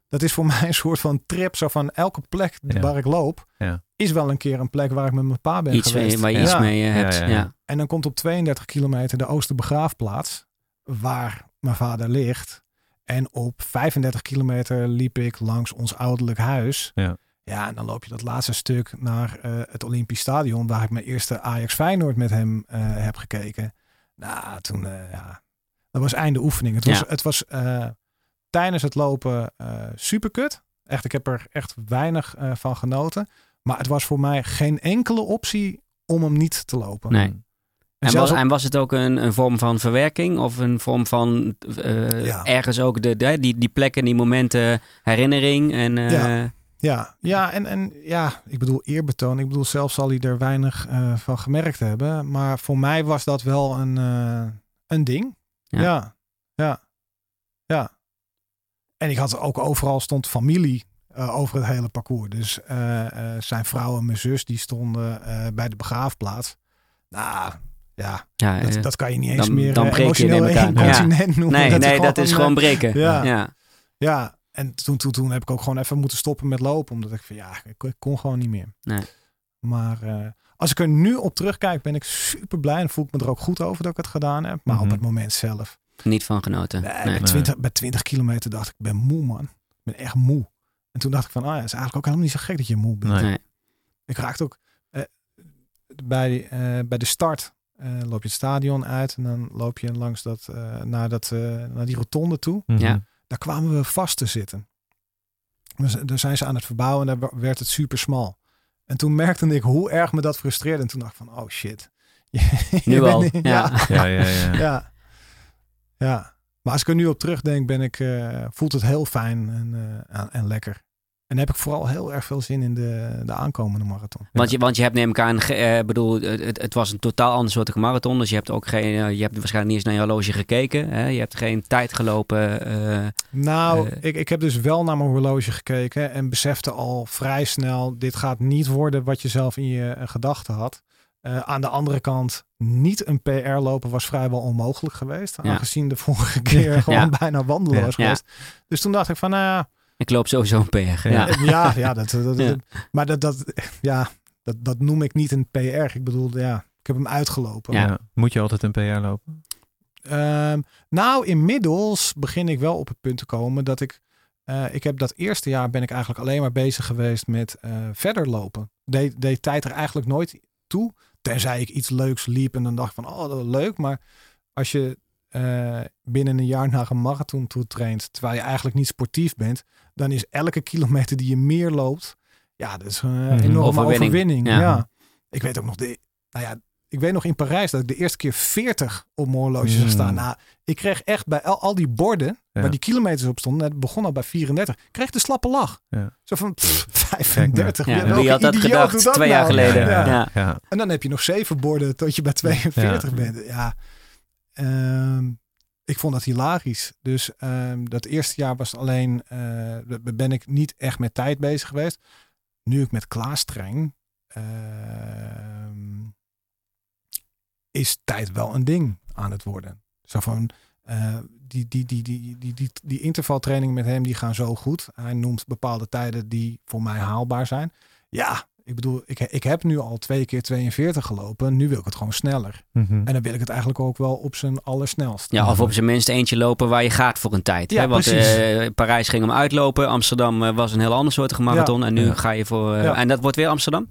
[SPEAKER 3] Dat is voor mij een soort van trip. Zo van elke plek
[SPEAKER 2] Ja.
[SPEAKER 3] waar ik loop...
[SPEAKER 2] Ja.
[SPEAKER 3] is wel een keer een plek waar ik met mijn pa ben
[SPEAKER 1] iets
[SPEAKER 3] geweest.
[SPEAKER 1] mee, waar je
[SPEAKER 3] Ja.
[SPEAKER 1] iets mee eh, hebt.
[SPEAKER 2] Ja,
[SPEAKER 1] Ja,
[SPEAKER 2] ja, ja.
[SPEAKER 3] En dan komt op 32 kilometer de Oosterbegraafplaats, waar mijn vader ligt. En op 35 kilometer liep ik langs ons ouderlijk huis.
[SPEAKER 2] Ja.
[SPEAKER 3] ja en dan loop je dat laatste stuk naar eh, het Olympisch Stadion, waar ik mijn eerste Ajax Feyenoord met hem eh, heb gekeken. Nou, toen, eh, ja, dat was einde oefening. Het was,
[SPEAKER 1] Ja.
[SPEAKER 3] het was eh, tijdens het lopen eh superkut. Echt, ik heb er echt weinig eh, van genoten. Maar het was voor mij geen enkele optie om hem niet te lopen.
[SPEAKER 1] Nee.
[SPEAKER 3] En
[SPEAKER 1] En
[SPEAKER 3] zelfs
[SPEAKER 1] was,
[SPEAKER 3] op-
[SPEAKER 1] en was het ook een, een vorm van verwerking of een vorm van eh,
[SPEAKER 3] Ja.
[SPEAKER 1] ergens ook de, de- die, die plekken, die momenten, herinnering en eh,
[SPEAKER 3] Ja. Ja, ja en, en ja, ik bedoel eerbetoon. Ik bedoel, zelf zal hij er weinig eh, van gemerkt hebben. Maar voor mij was dat wel een, eh, een ding.
[SPEAKER 1] Ja.
[SPEAKER 3] Ja. ja, ja, En ik had ook overal stond familie eh, over het hele parcours. Dus eh, eh, zijn vrouw en mijn zus, die stonden eh, bij de begraafplaats. Nou, ja,
[SPEAKER 1] ja,
[SPEAKER 3] dat,
[SPEAKER 1] eh,
[SPEAKER 3] dat kan je niet eens
[SPEAKER 1] dan-
[SPEAKER 3] meer
[SPEAKER 1] dan
[SPEAKER 3] eh,
[SPEAKER 1] breek je,
[SPEAKER 3] emotioneel
[SPEAKER 1] neem ik aan.
[SPEAKER 3] incontinent noemen.
[SPEAKER 1] nee, nee, dat is
[SPEAKER 3] een, eh,
[SPEAKER 1] gewoon breken.
[SPEAKER 3] ja.
[SPEAKER 1] ja.
[SPEAKER 3] ja, en toen, toen, toen heb ik ook gewoon even moeten stoppen met lopen. Omdat ik van ja, ik, ik kon gewoon niet meer.
[SPEAKER 1] Nee.
[SPEAKER 3] Maar eh, als ik er nu op terugkijk, ben ik super blij. En voel ik me er ook goed over dat ik het gedaan heb. Maar
[SPEAKER 2] Mhm.
[SPEAKER 3] op het moment zelf.
[SPEAKER 1] Niet van genoten.
[SPEAKER 3] Nee,
[SPEAKER 1] Nee.
[SPEAKER 3] Bij, 20, bij 20 kilometer dacht ik, ik ben moe man. Ik ben echt moe. En toen dacht ik van, ah ja, het is eigenlijk ook helemaal niet zo gek dat je moe bent.
[SPEAKER 2] Nee.
[SPEAKER 1] Nee.
[SPEAKER 3] Ik raakte ook eh, bij, eh, bij de start. eh, loop je het stadion uit en dan loop je langs dat, eh, naar, dat, eh, naar die rotonde toe
[SPEAKER 2] Mhm.
[SPEAKER 1] Ja.
[SPEAKER 3] daar kwamen we vast te zitten. Dus daar zijn ze aan het verbouwen en daar werd het super smal. En toen merkte ik hoe erg me dat frustreerde. En toen dacht ik van, oh shit. Je
[SPEAKER 1] Nu
[SPEAKER 3] bent
[SPEAKER 1] al.
[SPEAKER 3] niet-
[SPEAKER 1] Ja.
[SPEAKER 2] Ja, ja, ja. ja.
[SPEAKER 3] ja. Ja. Maar als ik er nu op terugdenk, ben ik, eh, voelt het heel fijn en, eh, en- en lekker. En heb ik vooral heel erg veel zin in de, de aankomende marathon.
[SPEAKER 1] Want, je, want je hebt neem ik aan, ge- eh, bedoel, eh, het, het was een totaal ander soort marathon. Dus je hebt ook geen, eh, je hebt waarschijnlijk niet eens naar je horloge gekeken. Hè? Je hebt geen tijd gelopen. eh,
[SPEAKER 3] Nou,
[SPEAKER 1] Eh.
[SPEAKER 3] ik, ik heb dus wel naar mijn horloge gekeken en besefte al vrij snel, dit gaat niet worden wat je zelf in je eh, gedachten had. Eh, aan de andere kant, niet een PR lopen was vrijwel onmogelijk geweest.
[SPEAKER 1] Ja.
[SPEAKER 3] Aangezien de vorige keer gewoon
[SPEAKER 1] Ja.
[SPEAKER 3] bijna wandelen
[SPEAKER 2] Ja.
[SPEAKER 3] was
[SPEAKER 1] Ja.
[SPEAKER 3] geweest. Dus toen dacht ik van, nou ja,
[SPEAKER 1] ik loop sowieso een PR. Ja.
[SPEAKER 3] eh, ja, ja, dat, dat, dat-
[SPEAKER 1] Ja.
[SPEAKER 3] maar dat, dat, ja, dat, dat noem ik niet een PR. Ik bedoel, ja, ik heb hem uitgelopen.
[SPEAKER 1] Ja.
[SPEAKER 2] Moet je altijd een PR lopen?
[SPEAKER 3] Ehm, nou, inmiddels begin ik wel op het punt te komen dat ik. eh, ik heb dat eerste jaar ben ik eigenlijk alleen maar bezig geweest met eh, verder lopen. Deed, deed tijd er eigenlijk nooit toe. Tenzij ik iets leuks liep en dan dacht ik van, oh, dat is leuk. Maar als je eh, binnen een jaar naar een marathon toe traint, terwijl je eigenlijk niet sportief bent, dan is elke kilometer die je meer loopt, ja, dat is een eh,
[SPEAKER 2] Mhm.
[SPEAKER 3] enorme
[SPEAKER 1] Overwinning.
[SPEAKER 3] overwinning.
[SPEAKER 1] Ja.
[SPEAKER 3] Ja. Ik weet ook nog, de, nou ja, ik weet nog in Parijs dat ik de eerste keer 40 op mijn horloge zag
[SPEAKER 2] Mm.
[SPEAKER 3] staan. Nou, ik kreeg echt bij al, al die borden,
[SPEAKER 2] Ja.
[SPEAKER 3] waar die kilometers op stonden, het begon al bij 34, ik kreeg de slappe lach.
[SPEAKER 2] Ja.
[SPEAKER 3] Zo van pff, 35.
[SPEAKER 1] Ja,
[SPEAKER 3] welke
[SPEAKER 1] wie had dat
[SPEAKER 3] idioot
[SPEAKER 1] gedacht
[SPEAKER 3] doet dat
[SPEAKER 1] twee jaar
[SPEAKER 3] nou?
[SPEAKER 1] geleden?
[SPEAKER 2] Ja.
[SPEAKER 1] Ja.
[SPEAKER 2] Ja.
[SPEAKER 3] En dan heb je nog zeven borden tot je bij 42
[SPEAKER 2] Ja.
[SPEAKER 3] bent. Ja. Ehm, ik vond dat hilarisch. Dus ehm, dat eerste jaar was alleen, eh, b- b- ben ik niet echt met tijd bezig geweest. Nu ik met Klaas train, ehm, is tijd wel een ding aan het worden. Zo van, eh, die, die, die, die, die, die, die intervaltrainingen met hem, die gaan zo goed. Hij noemt bepaalde tijden die voor mij haalbaar zijn. Ja, ik bedoel, ik, ik heb nu al twee keer 42 gelopen. Nu wil ik het gewoon sneller.
[SPEAKER 2] Mhm.
[SPEAKER 3] En dan wil ik het eigenlijk ook wel op zijn allersnelst.
[SPEAKER 1] Ja, of op zijn minst eentje lopen waar je gaat voor een tijd.
[SPEAKER 3] Ja,
[SPEAKER 1] hè? Want
[SPEAKER 3] precies.
[SPEAKER 1] eh, Parijs ging hem uitlopen. Amsterdam eh, was een heel ander soort marathon. En nu
[SPEAKER 2] Ja.
[SPEAKER 1] ga je voor... eh,
[SPEAKER 3] Ja.
[SPEAKER 1] En dat wordt weer Amsterdam?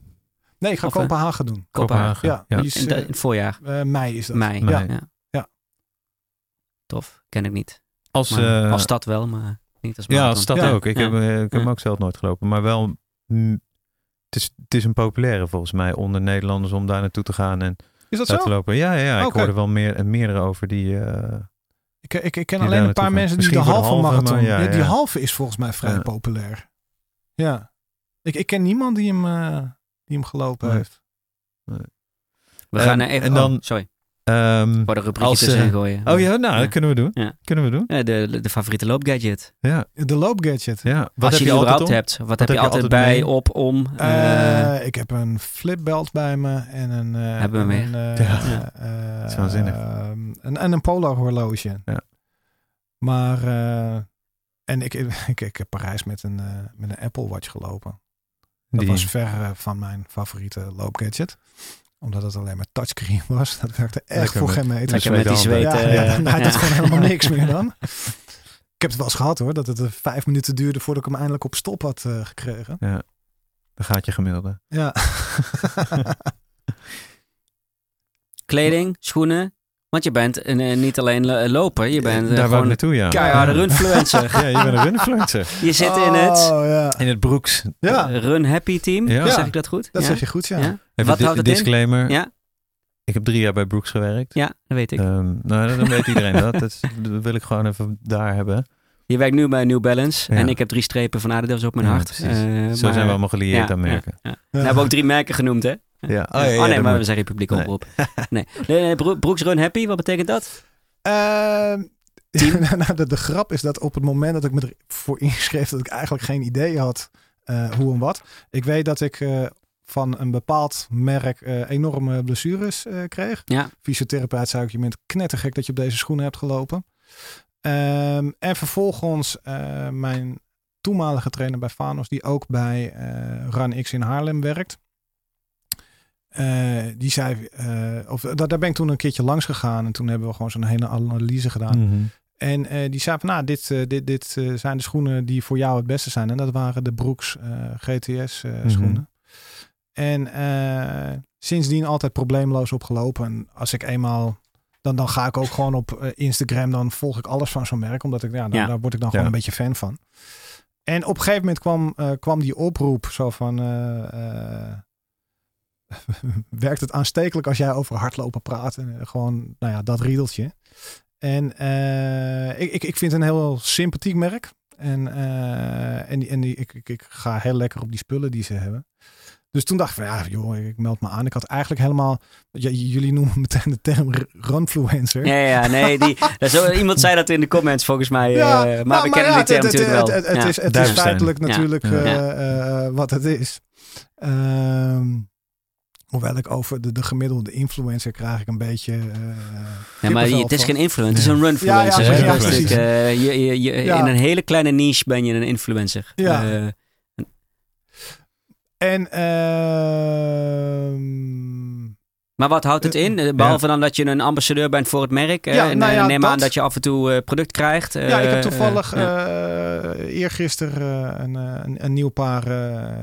[SPEAKER 3] Nee, ik ga
[SPEAKER 1] of, eh,
[SPEAKER 3] Kopenhagen doen.
[SPEAKER 1] Kopenhagen.
[SPEAKER 3] Ja,
[SPEAKER 2] Ja.
[SPEAKER 3] die is,
[SPEAKER 1] In, da- in
[SPEAKER 3] eh,
[SPEAKER 1] het voorjaar.
[SPEAKER 3] eh, mei is dat.
[SPEAKER 1] Mei.
[SPEAKER 2] Nee.
[SPEAKER 1] Ja.
[SPEAKER 3] Ja.
[SPEAKER 1] Ja. Tof. Ken ik niet.
[SPEAKER 2] Als,
[SPEAKER 1] Maar
[SPEAKER 2] eh,
[SPEAKER 1] als stad wel, maar niet als
[SPEAKER 2] ja,
[SPEAKER 1] marathon.
[SPEAKER 2] als stad
[SPEAKER 1] Ja.
[SPEAKER 2] ook. Ik
[SPEAKER 1] Ja.
[SPEAKER 2] heb, eh, ik heb hem
[SPEAKER 1] Ja.
[SPEAKER 2] ook zelf nooit gelopen. Maar wel, mm, het, is, het is een populaire volgens mij onder Nederlanders om daar naartoe te gaan en
[SPEAKER 3] Is dat
[SPEAKER 2] daar
[SPEAKER 3] zo?
[SPEAKER 2] te lopen. Ja, ja, ja. ik
[SPEAKER 3] Oké.
[SPEAKER 2] hoorde wel meer, meerdere over die, eh,
[SPEAKER 3] Ik, ik, ik ken
[SPEAKER 2] Die daar
[SPEAKER 3] alleen een paar
[SPEAKER 2] naartoe gaan.
[SPEAKER 3] mensen die de
[SPEAKER 2] Misschien
[SPEAKER 3] halve,
[SPEAKER 2] voor de halve,
[SPEAKER 3] marathon...
[SPEAKER 2] maar ja,
[SPEAKER 3] ja, die
[SPEAKER 2] ja.
[SPEAKER 3] halve is volgens mij vrij
[SPEAKER 2] Ja.
[SPEAKER 3] populair. Ja. Ik, ik ken niemand die hem, eh, die hem gelopen
[SPEAKER 2] Nee.
[SPEAKER 3] heeft.
[SPEAKER 1] We
[SPEAKER 2] Eh,
[SPEAKER 1] gaan naar even...
[SPEAKER 2] en
[SPEAKER 1] En dan,
[SPEAKER 2] dan-
[SPEAKER 1] sorry,
[SPEAKER 2] Ehm,
[SPEAKER 1] voor de rubriekje
[SPEAKER 2] als, eh,
[SPEAKER 1] tussen gooien.
[SPEAKER 2] oh ja, nou,
[SPEAKER 1] Ja.
[SPEAKER 2] dat kunnen we doen.
[SPEAKER 1] Ja.
[SPEAKER 2] Kunnen we doen.
[SPEAKER 1] Eh, De, de favoriete loopgadget.
[SPEAKER 2] Ja,
[SPEAKER 3] De loopgadget.
[SPEAKER 2] ja.
[SPEAKER 1] Als
[SPEAKER 2] Wat heb
[SPEAKER 1] je
[SPEAKER 2] je
[SPEAKER 1] die
[SPEAKER 2] altijd
[SPEAKER 1] überhaupt
[SPEAKER 2] om?
[SPEAKER 1] hebt. Wat, heb je altijd,
[SPEAKER 2] altijd
[SPEAKER 1] bij,
[SPEAKER 2] mee?
[SPEAKER 1] op, om? eh,
[SPEAKER 3] Eh ik heb een flipbelt bij me en een... eh,
[SPEAKER 1] Hebben we hem
[SPEAKER 3] en een,
[SPEAKER 2] Ja.
[SPEAKER 3] eh, eh,
[SPEAKER 2] Dat is waanzinnig.
[SPEAKER 3] ehm, en, en een polo horloge.
[SPEAKER 2] Ja.
[SPEAKER 3] Maar... eh, en ik, ik, ik heb Parijs met een, eh, met een Apple Watch gelopen. Dat
[SPEAKER 2] Die-
[SPEAKER 3] was ver eh, van mijn favoriete loopgadget. Omdat het alleen maar touchscreen was. Dat werkte echt
[SPEAKER 2] Lekker
[SPEAKER 3] voor
[SPEAKER 2] met-
[SPEAKER 3] geen meter.
[SPEAKER 1] lekker met die
[SPEAKER 2] Zweedhanden.
[SPEAKER 1] zweet.
[SPEAKER 3] ja,
[SPEAKER 1] eh,
[SPEAKER 3] ja, nou,
[SPEAKER 1] ja.
[SPEAKER 3] dat is gewoon helemaal niks meer dan. Ik heb het wel eens gehad hoor. Dat het eh, vijf minuten duurde voordat ik hem eindelijk op stop had eh, gekregen.
[SPEAKER 2] Dan gaat je gemiddelde.
[SPEAKER 3] Ja.
[SPEAKER 1] Kleding, schoenen. Want je bent een, eh, niet alleen lo- loper. Je bent eh,
[SPEAKER 2] Daar wou ik
[SPEAKER 1] gewoon een
[SPEAKER 2] naartoe, ja.
[SPEAKER 1] keiharde
[SPEAKER 2] Ja.
[SPEAKER 1] runfluencer.
[SPEAKER 2] Ja, je bent een runfluencer.
[SPEAKER 1] Je zit in het
[SPEAKER 3] Oh, ja.
[SPEAKER 2] In het broeks.
[SPEAKER 3] ja,
[SPEAKER 1] Run Happy Team.
[SPEAKER 2] Oh. Ja.
[SPEAKER 1] Zeg ik dat goed?
[SPEAKER 3] dat
[SPEAKER 1] ja?
[SPEAKER 3] zeg je goed ja.
[SPEAKER 1] Ja. Nou,
[SPEAKER 2] Even
[SPEAKER 1] Wat
[SPEAKER 2] di-
[SPEAKER 1] houdt het in?
[SPEAKER 2] disclaimer.
[SPEAKER 1] Ja.
[SPEAKER 2] Ik heb drie jaar bij Brooks gewerkt.
[SPEAKER 1] Ja, dat weet ik.
[SPEAKER 2] Ehm, nou, dan weet iedereen dat. Dat, is- dat wil ik gewoon even daar hebben.
[SPEAKER 1] Je werkt nu bij New Balance.
[SPEAKER 2] Ja.
[SPEAKER 1] En ik heb drie strepen van Adidas op mijn
[SPEAKER 2] Ja,
[SPEAKER 1] hart.
[SPEAKER 2] precies.
[SPEAKER 1] Eh,
[SPEAKER 2] Zo
[SPEAKER 1] maar-
[SPEAKER 2] zijn we allemaal gelieerd
[SPEAKER 1] ja,
[SPEAKER 2] aan merken.
[SPEAKER 1] Ja, ja.
[SPEAKER 3] Ja.
[SPEAKER 1] We hebben ook drie merken genoemd, hè?
[SPEAKER 2] Ja.
[SPEAKER 1] Ja.
[SPEAKER 2] Oh, ja, ja,
[SPEAKER 1] oh nee,
[SPEAKER 2] dat
[SPEAKER 1] maar we
[SPEAKER 2] moet.
[SPEAKER 1] zijn Republiek
[SPEAKER 2] Nee.
[SPEAKER 1] oproep. Nee. nee, nee, Bro- Brooks Run Happy, wat betekent dat?
[SPEAKER 3] Ehm,
[SPEAKER 1] Team?
[SPEAKER 3] nou, de, de grap is dat op het moment dat ik me ervoor inschreef, dat ik eigenlijk geen idee had eh, hoe en wat. Ik weet dat ik eh, van een bepaald merk eh, enorme blessures eh, kreeg.
[SPEAKER 1] Ja.
[SPEAKER 3] Fysiotherapeut zei ook, je bent knettergek dat je op deze schoenen hebt gelopen. Ehm, en vervolgens eh, mijn toenmalige trainer bij Fanos, die ook bij eh Run X in Haarlem werkt. Eh, die zei, eh, of, daar, daar ben ik toen een keertje langs gegaan en toen hebben we gewoon zo'n hele analyse gedaan.
[SPEAKER 2] Mhm.
[SPEAKER 3] En eh, die zei van, nou, dit, eh, dit, dit eh, zijn de schoenen die voor jou het beste zijn. En dat waren de Brooks eh, GTS eh,
[SPEAKER 2] Mhm.
[SPEAKER 3] schoenen. En eh, sindsdien altijd probleemloos opgelopen. En als ik eenmaal, dan, dan ga ik ook gewoon op eh, Instagram, dan volg ik alles van zo'n merk. Omdat ik, ja, dan-
[SPEAKER 1] Ja.
[SPEAKER 3] daar word ik dan gewoon
[SPEAKER 2] Ja.
[SPEAKER 3] een beetje fan van. En op een gegeven moment kwam, eh, kwam die oproep zo van... eh, eh, werkt het aanstekelijk als jij over hardlopen praat? En eh, gewoon, nou ja, dat riedeltje. En eh, ik, ik, ik vind het een heel sympathiek merk. En, eh, en, die, en die, ik, ik, ik ga heel lekker op die spullen die ze hebben. Dus toen dacht ik van ja, joh, ik meld me aan. Ik had eigenlijk helemaal, j- jullie noemen meteen de term r- runfluencer.
[SPEAKER 1] Ja, ja, ja, nee. Die, dat is wel- iemand zei dat in de comments volgens mij.
[SPEAKER 3] Ja,
[SPEAKER 1] eh, maar
[SPEAKER 3] nou,
[SPEAKER 1] we kennen
[SPEAKER 3] ja,
[SPEAKER 1] die term
[SPEAKER 3] het- het-
[SPEAKER 1] natuurlijk wel.
[SPEAKER 3] Het, het- het
[SPEAKER 1] Ja.
[SPEAKER 3] is, het is
[SPEAKER 2] Duivestein.
[SPEAKER 3] feitelijk
[SPEAKER 1] Ja.
[SPEAKER 3] natuurlijk
[SPEAKER 2] Ja.
[SPEAKER 3] eh, eh, wat het is. Ehm, hoewel ik over de, de gemiddelde influencer krijg ik een beetje... eh,
[SPEAKER 1] Ja, maar
[SPEAKER 3] kippenvel
[SPEAKER 1] het is
[SPEAKER 3] van.
[SPEAKER 1] geen influencer, het is een runfluencer.
[SPEAKER 2] Ja, ja,
[SPEAKER 1] hè?
[SPEAKER 2] ja,
[SPEAKER 1] Dat is
[SPEAKER 2] precies.
[SPEAKER 1] natuurlijk, eh, je, je, je-
[SPEAKER 3] Ja.
[SPEAKER 1] In een hele kleine niche ben je een influencer.
[SPEAKER 3] Ja.
[SPEAKER 1] Eh,
[SPEAKER 3] En ehm,
[SPEAKER 1] maar wat houdt het
[SPEAKER 3] Eh,
[SPEAKER 1] in? Eh, Behalve dan dat je een ambassadeur bent voor het merk. eh,
[SPEAKER 3] Ja,
[SPEAKER 1] en
[SPEAKER 3] nou
[SPEAKER 1] eh,
[SPEAKER 3] ja,
[SPEAKER 1] neem aan
[SPEAKER 3] dat.
[SPEAKER 1] dat je af en toe eh, product krijgt.
[SPEAKER 3] ja, ik
[SPEAKER 1] eh,
[SPEAKER 3] heb toevallig
[SPEAKER 1] eh, ja.
[SPEAKER 3] eh eergisteren eh, een, eh, een, een nieuw paar eh,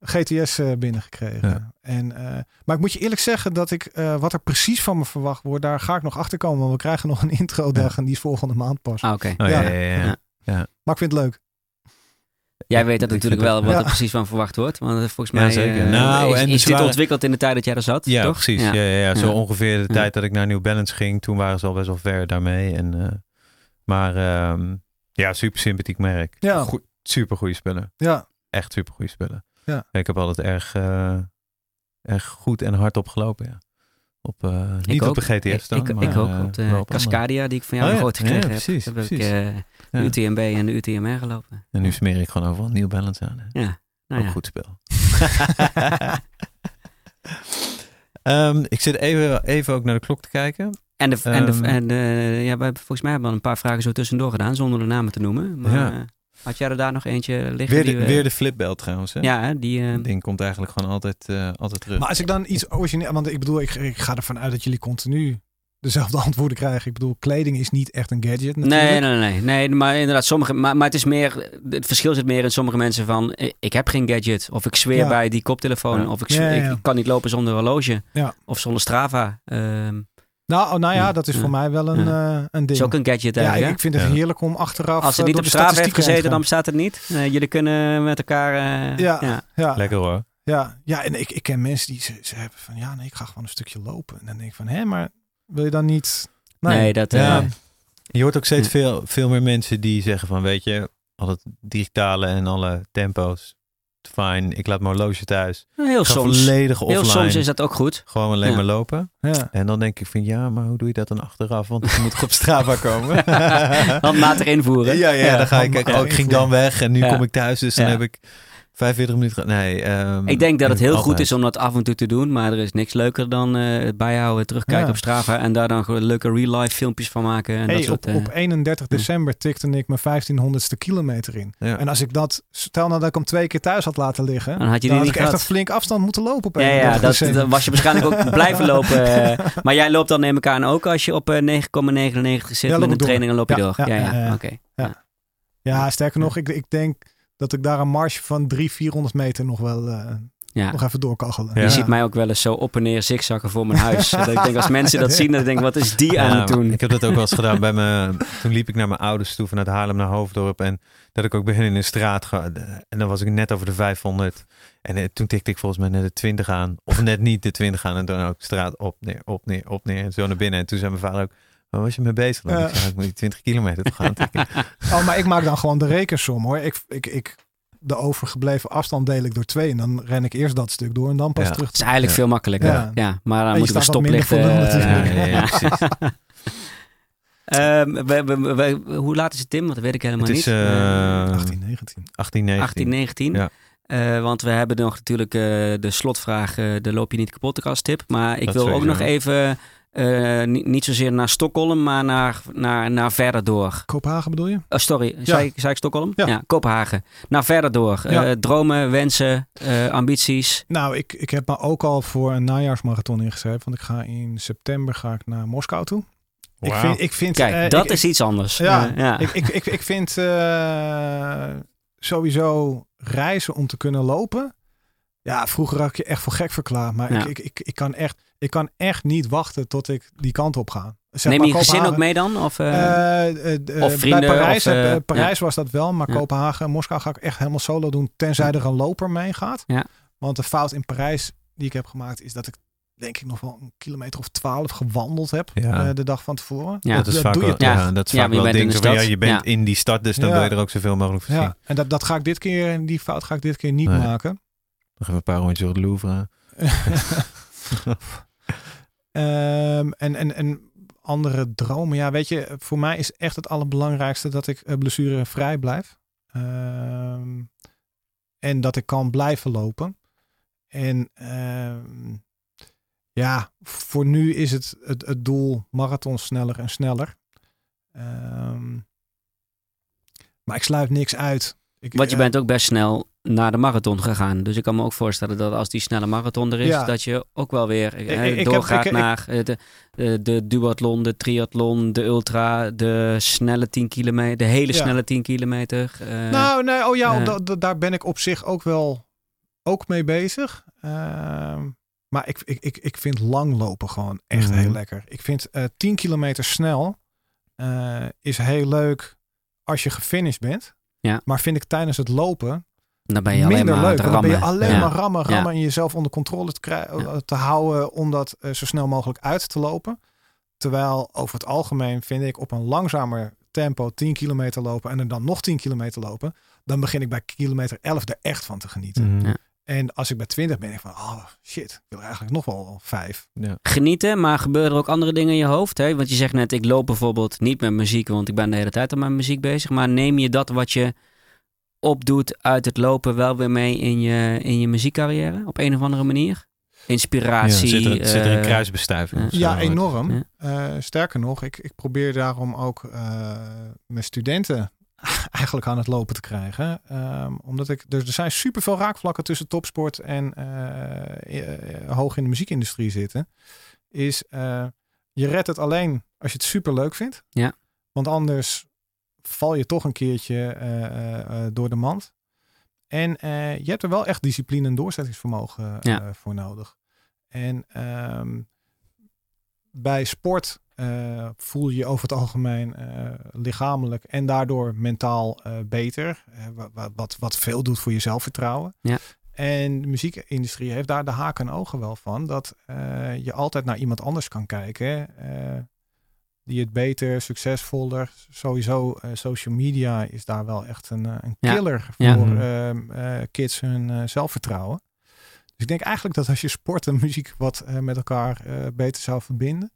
[SPEAKER 3] GTS eh, binnengekregen.
[SPEAKER 2] Ja.
[SPEAKER 3] En, eh, maar ik moet je eerlijk zeggen dat ik eh, wat er precies van me verwacht wordt, daar ga ik nog achter komen. Want we krijgen nog een intro dag en die is volgende maand pas.
[SPEAKER 1] Ah, oké.
[SPEAKER 2] Oh, ja,
[SPEAKER 3] Ja.
[SPEAKER 2] ja, ja, ja.
[SPEAKER 1] Ja.
[SPEAKER 3] Maar ik vind het leuk.
[SPEAKER 1] Jij weet dat
[SPEAKER 2] Ik
[SPEAKER 1] natuurlijk
[SPEAKER 2] vind
[SPEAKER 1] wel
[SPEAKER 2] dat-
[SPEAKER 1] wat
[SPEAKER 3] Ja.
[SPEAKER 1] er precies van verwacht wordt. Want eh, volgens
[SPEAKER 2] Ja,
[SPEAKER 1] mij
[SPEAKER 2] zeker.
[SPEAKER 1] eh,
[SPEAKER 2] Nou,
[SPEAKER 1] is,
[SPEAKER 2] en
[SPEAKER 1] is
[SPEAKER 2] ze
[SPEAKER 1] dit
[SPEAKER 2] waren-
[SPEAKER 1] ontwikkeld in de tijd dat jij er zat.
[SPEAKER 2] Ja,
[SPEAKER 1] toch?
[SPEAKER 2] precies. Ja. Ja, ja, Zo
[SPEAKER 1] Ja.
[SPEAKER 2] ongeveer de
[SPEAKER 1] Ja.
[SPEAKER 2] tijd dat ik naar New Balance ging, toen waren ze al best wel ver daarmee. En, eh, maar ehm, ja, super sympathiek merk.
[SPEAKER 3] Ja.
[SPEAKER 2] Goed, super goede spullen.
[SPEAKER 3] Ja,
[SPEAKER 2] Echt super goede spullen.
[SPEAKER 3] Ja.
[SPEAKER 2] Ik heb altijd erg, eh, erg goed en hard opgelopen. Ja. Op, eh, niet
[SPEAKER 1] ook.
[SPEAKER 2] op de GTS dan.
[SPEAKER 1] ik,
[SPEAKER 2] maar,
[SPEAKER 1] ik ook,
[SPEAKER 2] eh,
[SPEAKER 1] op de
[SPEAKER 2] wel op andere.
[SPEAKER 1] Cascadia die ik van jou
[SPEAKER 2] Oh, ja.
[SPEAKER 1] groot gekregen
[SPEAKER 2] Ja,
[SPEAKER 1] heb.
[SPEAKER 2] precies,
[SPEAKER 1] Daar heb ik
[SPEAKER 2] precies.
[SPEAKER 1] eh,
[SPEAKER 2] Ja.
[SPEAKER 1] UTMB en de UTMR gelopen.
[SPEAKER 2] En nu smeer ik gewoon overal New Balance aan. hè.
[SPEAKER 1] Ja, nou
[SPEAKER 2] Ook
[SPEAKER 1] ja.
[SPEAKER 2] goed spel. Ehm, ik zit even, even ook naar de klok te kijken.
[SPEAKER 1] En, de, en,
[SPEAKER 2] Ehm.
[SPEAKER 1] de, en eh, ja, we hebben volgens mij hebben we al een paar vragen zo tussendoor gedaan, zonder de namen te noemen. Maar
[SPEAKER 2] Ja.
[SPEAKER 1] eh, had jij er daar nog eentje liggen?
[SPEAKER 2] Weer de,
[SPEAKER 1] die we-
[SPEAKER 2] weer de flipbel trouwens. Hè?
[SPEAKER 1] Ja, hè, die... eh,
[SPEAKER 2] Dat ding komt eigenlijk gewoon altijd, eh, altijd terug.
[SPEAKER 3] maar als ik dan iets origineel, want ik bedoel, ik, ik ga ervan uit dat jullie continu dezelfde antwoorden krijgen. Ik bedoel, kleding is niet echt een gadget natuurlijk.
[SPEAKER 1] Nee, nee, nee, nee. Maar inderdaad, sommige. Maar, maar het is meer. Het verschil zit meer in sommige mensen van. eh, Ik heb geen gadget. Of ik zweer
[SPEAKER 3] Ja.
[SPEAKER 1] bij die koptelefoon.
[SPEAKER 2] Ja.
[SPEAKER 1] Of ik, zweer-
[SPEAKER 3] Ja, ja, ja.
[SPEAKER 1] ik kan niet lopen zonder horloge.
[SPEAKER 3] Ja.
[SPEAKER 1] Of zonder Strava. Ehm,
[SPEAKER 3] Nou, oh, nou ja,
[SPEAKER 1] Ja,
[SPEAKER 3] dat is
[SPEAKER 1] ja.
[SPEAKER 3] voor mij wel een, eh, een
[SPEAKER 1] is
[SPEAKER 3] ding.
[SPEAKER 1] ook een gadget
[SPEAKER 3] ja,
[SPEAKER 1] eigenlijk. hè?
[SPEAKER 3] ik vind het
[SPEAKER 2] Ja.
[SPEAKER 3] heerlijk om achteraf
[SPEAKER 1] Als het
[SPEAKER 3] eh,
[SPEAKER 1] niet
[SPEAKER 3] door
[SPEAKER 1] op
[SPEAKER 3] de
[SPEAKER 1] Strava heeft
[SPEAKER 3] statistieken
[SPEAKER 1] gezeten,
[SPEAKER 3] heen te gaan.
[SPEAKER 1] dan bestaat het niet. Eh, jullie kunnen met elkaar. eh,
[SPEAKER 3] Ja.
[SPEAKER 1] ja.
[SPEAKER 3] Ja.
[SPEAKER 2] Lekker hoor.
[SPEAKER 3] Ja, ja en ik, ik ken mensen die ze, ze hebben van ja, nee, ik ga gewoon een stukje lopen. En dan denk ik van hé, maar wil je dan niet.
[SPEAKER 1] Nee, dat. eh,
[SPEAKER 2] Ja.
[SPEAKER 1] ja.
[SPEAKER 2] Ik Je hoort ook steeds
[SPEAKER 1] Hm.
[SPEAKER 2] veel, veel meer mensen die zeggen van, weet je, al het digitale en alle tempo's, fijn, ik laat mijn horloge thuis.
[SPEAKER 1] Nou, Heel
[SPEAKER 2] Ik ga
[SPEAKER 1] soms.
[SPEAKER 2] volledig
[SPEAKER 1] Heel
[SPEAKER 2] offline,
[SPEAKER 1] soms is dat ook goed.
[SPEAKER 2] gewoon alleen
[SPEAKER 1] Ja.
[SPEAKER 2] maar lopen.
[SPEAKER 3] Ja.
[SPEAKER 2] En dan denk ik van, ja, maar hoe doe je dat dan achteraf? Want ik moet toch op Strava komen.
[SPEAKER 1] Handmatig invoeren.
[SPEAKER 2] Ja, ja,
[SPEAKER 3] Ja,
[SPEAKER 2] dan ga ik.
[SPEAKER 3] handmatig
[SPEAKER 2] Oh, ik ging dan weg en nu
[SPEAKER 1] Ja.
[SPEAKER 2] kom ik thuis, dus dan
[SPEAKER 1] Ja.
[SPEAKER 2] heb ik 45 minuten. ge- Nee, ehm,
[SPEAKER 1] Ik denk dat het heel goed
[SPEAKER 2] altijd.
[SPEAKER 1] is om dat af en toe te doen, maar er is niks leuker dan eh, het bijhouden, terugkijken
[SPEAKER 3] Ja.
[SPEAKER 1] op Strava en daar dan gewoon leuke real-life filmpjes van maken. En dat
[SPEAKER 3] Hey,
[SPEAKER 1] soort,
[SPEAKER 3] op,
[SPEAKER 1] eh,
[SPEAKER 3] op 31 december tikte ik mijn 1500ste kilometer in.
[SPEAKER 2] Ja.
[SPEAKER 3] En als ik dat, stel nou dat ik hem twee keer thuis had laten liggen,
[SPEAKER 1] dan had je
[SPEAKER 3] dan
[SPEAKER 1] die
[SPEAKER 3] had ik
[SPEAKER 1] niet
[SPEAKER 3] echt een
[SPEAKER 1] gehad.
[SPEAKER 3] flink afstand moeten lopen op
[SPEAKER 1] Ja, ja
[SPEAKER 3] 31
[SPEAKER 1] dat,
[SPEAKER 3] december.
[SPEAKER 1] dan was je waarschijnlijk ook blijven lopen. eh. maar jij loopt dan neem ik aan ook als je op eh, 9,99 zit
[SPEAKER 3] Ja, loop
[SPEAKER 1] met een
[SPEAKER 3] ik door.
[SPEAKER 1] training en loop je
[SPEAKER 3] Ja,
[SPEAKER 1] door. Ja,
[SPEAKER 3] ja,
[SPEAKER 1] ja,
[SPEAKER 3] ja, ja.
[SPEAKER 1] oké.
[SPEAKER 3] Ja, sterker nog, ik, ik denk dat ik daar een marge van 300, 400 meter nog wel eh,
[SPEAKER 1] Ja.
[SPEAKER 3] nog even door kan gaan.
[SPEAKER 2] Je
[SPEAKER 1] Je
[SPEAKER 2] Ja.
[SPEAKER 1] ziet mij ook wel eens zo op en neer zigzaggen voor mijn huis. dat ik denk als mensen dat zien, dan denk ik wat is die aan
[SPEAKER 2] Ja,
[SPEAKER 1] het doen?
[SPEAKER 2] Ehm, Ik heb dat ook wel eens gedaan bij mijn. Toen liep ik naar mijn ouders toe vanuit Haarlem naar Hoofddorp. En dat ik ook begin in een straat. Ga, en dan was ik net over de 500. En eh, toen tikte ik volgens mij net de 20 aan. Of net niet de 20 aan. En toen ook straat op, neer, op, neer, op, neer. En zo naar binnen. En toen zei mijn vader ook. Waar was je mee bezig? dan?"
[SPEAKER 3] Ja.
[SPEAKER 2] Ik zei, "Ja, ik moet die 20 kilometer toch gaan tikken."
[SPEAKER 3] Oh, maar ik maak dan gewoon de rekensom hoor. Ik, ik, ik, de overgebleven afstand deel ik door twee. En dan ren ik eerst dat stuk door en dan pas
[SPEAKER 2] Ja.
[SPEAKER 3] terug.
[SPEAKER 1] Het is eigenlijk
[SPEAKER 2] Ja.
[SPEAKER 1] veel makkelijker. Ja,
[SPEAKER 3] Ja.
[SPEAKER 1] maar dan
[SPEAKER 3] je
[SPEAKER 1] moeten we
[SPEAKER 3] staat wat minder
[SPEAKER 1] stoplichten.
[SPEAKER 3] voor lul
[SPEAKER 1] eh,
[SPEAKER 2] ja,
[SPEAKER 3] natuurlijk.
[SPEAKER 2] ja, ja,
[SPEAKER 1] ja.
[SPEAKER 2] precies.
[SPEAKER 1] Ehm, we- we- we- hoe laat is het, Tim? Want dat weet ik helemaal
[SPEAKER 2] Het is
[SPEAKER 1] niet.
[SPEAKER 2] eh,
[SPEAKER 1] Eh,
[SPEAKER 3] 18, 19.
[SPEAKER 2] 18, 19.
[SPEAKER 1] 18, 19.
[SPEAKER 2] Ja.
[SPEAKER 1] Eh, want we hebben nog natuurlijk eh, de slotvraag, eh, de loop je niet kapot de tip. Maar ik
[SPEAKER 2] Dat
[SPEAKER 1] wil ook
[SPEAKER 2] sowieso.
[SPEAKER 1] nog even, eh, niet, niet zozeer naar Stockholm, maar naar, naar, naar verder door.
[SPEAKER 3] Kopenhagen bedoel je?
[SPEAKER 1] Oh, sorry, zei, ik, zei ik Stockholm?
[SPEAKER 3] Ja.
[SPEAKER 1] Kopenhagen. Naar verder door.
[SPEAKER 3] Ja.
[SPEAKER 1] Eh, dromen, wensen, eh, ambities.
[SPEAKER 3] Nou, ik, ik heb me ook al voor een najaarsmarathon ingeschreven. Want ik ga in september ga ik naar Moskou toe. Ik
[SPEAKER 2] Wauw.
[SPEAKER 3] vind, ik vind,
[SPEAKER 1] Kijk,
[SPEAKER 3] eh,
[SPEAKER 1] dat
[SPEAKER 3] ik-
[SPEAKER 1] is iets anders.
[SPEAKER 3] Ja,
[SPEAKER 1] Eh, ja.
[SPEAKER 3] Ik, ik, ik, ik vind eh, sowieso reizen om te kunnen lopen. Ja, vroeger had ik je echt voor gek verklaard. Maar
[SPEAKER 1] Ja.
[SPEAKER 3] ik, ik, ik, ik, kan echt, ik kan echt niet wachten tot ik die kant op ga. Zeg
[SPEAKER 1] Neem
[SPEAKER 3] maar
[SPEAKER 1] je gezin
[SPEAKER 3] Kopenhagen.
[SPEAKER 1] ook mee dan? Of, eh,
[SPEAKER 3] Eh, eh, eh,
[SPEAKER 1] of vrienden,
[SPEAKER 3] bij Parijs,
[SPEAKER 1] of, eh,
[SPEAKER 3] heb- eh, Parijs was dat wel, maar
[SPEAKER 1] Ja.
[SPEAKER 3] Kopenhagen en Moskou ga ik echt helemaal solo doen. Tenzij er een loper mee gaat.
[SPEAKER 1] Ja.
[SPEAKER 3] Want de fout in Parijs die ik heb gemaakt is dat ik denk ik nog wel een kilometer of twaalf gewandeld heb
[SPEAKER 2] Ja.
[SPEAKER 3] eh, de dag van tevoren.
[SPEAKER 1] Ja.
[SPEAKER 2] dat is vaak
[SPEAKER 3] doe je
[SPEAKER 2] wel,
[SPEAKER 1] toch?
[SPEAKER 2] ja, dat is
[SPEAKER 1] Ja,
[SPEAKER 2] vaak
[SPEAKER 1] maar je
[SPEAKER 2] wel
[SPEAKER 1] bent in
[SPEAKER 2] ding.
[SPEAKER 1] de
[SPEAKER 2] zo van, Ja,
[SPEAKER 1] stad.
[SPEAKER 2] je bent
[SPEAKER 1] Ja.
[SPEAKER 2] in die stad, dus dan
[SPEAKER 3] Ja.
[SPEAKER 2] wil je er ook zoveel mogelijk voor zien.
[SPEAKER 3] Ja, en dat, dat ga ik dit keer en die fout ga ik dit keer niet
[SPEAKER 2] Nee.
[SPEAKER 3] maken.
[SPEAKER 2] Nog even een paar rondjes door het Louvre.
[SPEAKER 3] Ehm, en, en, en andere dromen. Ja, weet je, voor mij is echt het allerbelangrijkste dat ik eh, blessurevrij blijf. Ehm, en dat ik kan blijven lopen. En ehm, ja, voor nu is het, het, het doel marathon sneller en sneller. Ehm, maar ik sluit niks uit. Ik,
[SPEAKER 1] Want je
[SPEAKER 3] eh,
[SPEAKER 1] bent ook best snel naar de marathon gegaan. Dus ik kan me ook voorstellen dat als die snelle marathon er is,
[SPEAKER 3] Ja.
[SPEAKER 1] dat je ook wel weer eh,
[SPEAKER 3] ik- ik heb-
[SPEAKER 1] doorgaat
[SPEAKER 3] ik- ik-
[SPEAKER 1] naar eh, de, de, de duathlon, de triathlon, de ultra, de snelle 10 kilometer, de hele
[SPEAKER 3] Ja.
[SPEAKER 1] snelle 10 kilometer. eh,
[SPEAKER 3] Nou, nee, oh ja,
[SPEAKER 1] eh.
[SPEAKER 3] da- da- daar ben ik op zich ook wel ook mee bezig. Ehm, maar ik, ik, ik, ik vind langlopen gewoon echt
[SPEAKER 2] Mhm.
[SPEAKER 3] heel lekker. Ik vind eh 10 kilometer snel eh, is heel leuk als je gefinished bent.
[SPEAKER 1] Ja.
[SPEAKER 3] Maar vind ik tijdens het lopen
[SPEAKER 1] dan ben je alleen
[SPEAKER 3] minder
[SPEAKER 1] maar aan
[SPEAKER 3] leuk.
[SPEAKER 1] het
[SPEAKER 3] want Dan ben je
[SPEAKER 1] rammen.
[SPEAKER 3] alleen
[SPEAKER 1] Ja.
[SPEAKER 3] maar rammen,
[SPEAKER 1] Ja.
[SPEAKER 3] rammen en jezelf onder controle te, krijgen,
[SPEAKER 1] Ja.
[SPEAKER 3] te houden om dat eh, zo snel mogelijk uit te lopen. Terwijl over het algemeen vind ik op een langzamer tempo 10 kilometer lopen en er dan nog 10 kilometer lopen, dan begin ik bij kilometer 11 er echt van te genieten.
[SPEAKER 2] Mhm.
[SPEAKER 1] Ja.
[SPEAKER 3] En als ik bij 20 ben, denk ik van, oh shit, ik wil er eigenlijk nog wel vijf.
[SPEAKER 1] Genieten, maar gebeuren er ook andere dingen in je hoofd? Hè? Want je zegt net, ik loop bijvoorbeeld niet met muziek, want ik ben de hele tijd aan mijn muziek bezig. Maar neem je dat wat je opdoet uit het lopen wel weer mee in je, in je muziekcarrière? Op een of andere manier? Inspiratie.
[SPEAKER 2] zit, er, zit er een
[SPEAKER 1] eh,
[SPEAKER 2] kruisbestuiving?
[SPEAKER 1] ja.
[SPEAKER 2] of zo?
[SPEAKER 3] Ja, enorm.
[SPEAKER 1] Ja.
[SPEAKER 3] Eh, sterker nog, ik, ik probeer daarom ook eh, mijn studenten eigenlijk aan het lopen te krijgen. Ehm, omdat ik, dus er zijn superveel raakvlakken tussen topsport en eh, eh, hoog in de muziekindustrie zitten. Is eh, je redt het alleen als je het super leuk vindt.
[SPEAKER 1] Ja.
[SPEAKER 3] Want anders val je toch een keertje eh, eh, eh, door de mand. En eh, je hebt er wel echt discipline en doorzettingsvermogen eh,
[SPEAKER 1] Ja.
[SPEAKER 3] voor nodig. En ehm, bij sport eh, voel je je over het algemeen eh, lichamelijk en daardoor mentaal eh, beter. Eh, wa- wa- wat, wat veel doet voor je zelfvertrouwen.
[SPEAKER 1] Ja.
[SPEAKER 3] En de muziekindustrie heeft daar de haken en ogen wel van. Dat eh, je altijd naar iemand anders kan kijken. eh, die het beter, succesvoller. Sowieso eh, social media is daar wel echt een, eh, een
[SPEAKER 1] Ja.
[SPEAKER 3] killer
[SPEAKER 1] Ja.
[SPEAKER 3] voor
[SPEAKER 4] Mhm.
[SPEAKER 3] ehm, eh, kids hun eh, zelfvertrouwen. Dus ik denk eigenlijk dat als je sport en muziek wat eh, met elkaar eh, beter zou verbinden,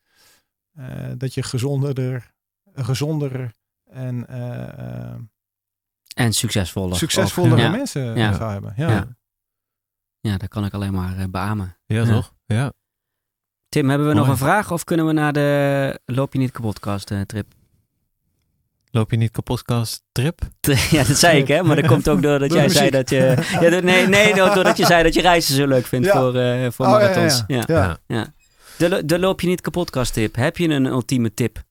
[SPEAKER 3] eh, dat je gezonderder, gezonder en eh, eh,
[SPEAKER 1] En succesvoller.
[SPEAKER 3] succesvollere
[SPEAKER 1] Ja.
[SPEAKER 3] mensen
[SPEAKER 1] Ja.
[SPEAKER 3] zou hebben. Ja.
[SPEAKER 1] Ja. Ja, dat kan ik alleen maar eh, beamen.
[SPEAKER 2] Ja,
[SPEAKER 1] Ja.
[SPEAKER 2] toch? Ja.
[SPEAKER 1] Tim, hebben we nog
[SPEAKER 2] Mooi.
[SPEAKER 1] een vraag of kunnen we naar de Loop je niet kapotkast eh, trip?
[SPEAKER 2] Loop je niet kapotkast trip?
[SPEAKER 1] Ja, dat zei ik hè, maar dat komt ook doordat
[SPEAKER 3] Door
[SPEAKER 1] jij
[SPEAKER 3] de
[SPEAKER 1] zei
[SPEAKER 3] muziek.
[SPEAKER 1] dat je... Ja, dat- nee, nee, no- doordat je zei dat je reizen zo leuk vindt
[SPEAKER 3] Ja.
[SPEAKER 1] voor, eh, voor
[SPEAKER 3] Oh, ja, ja,
[SPEAKER 1] marathons. Ja,
[SPEAKER 3] Ja.
[SPEAKER 1] De, lo- de Loop je niet kapotkast tip. Heb je een ultieme tip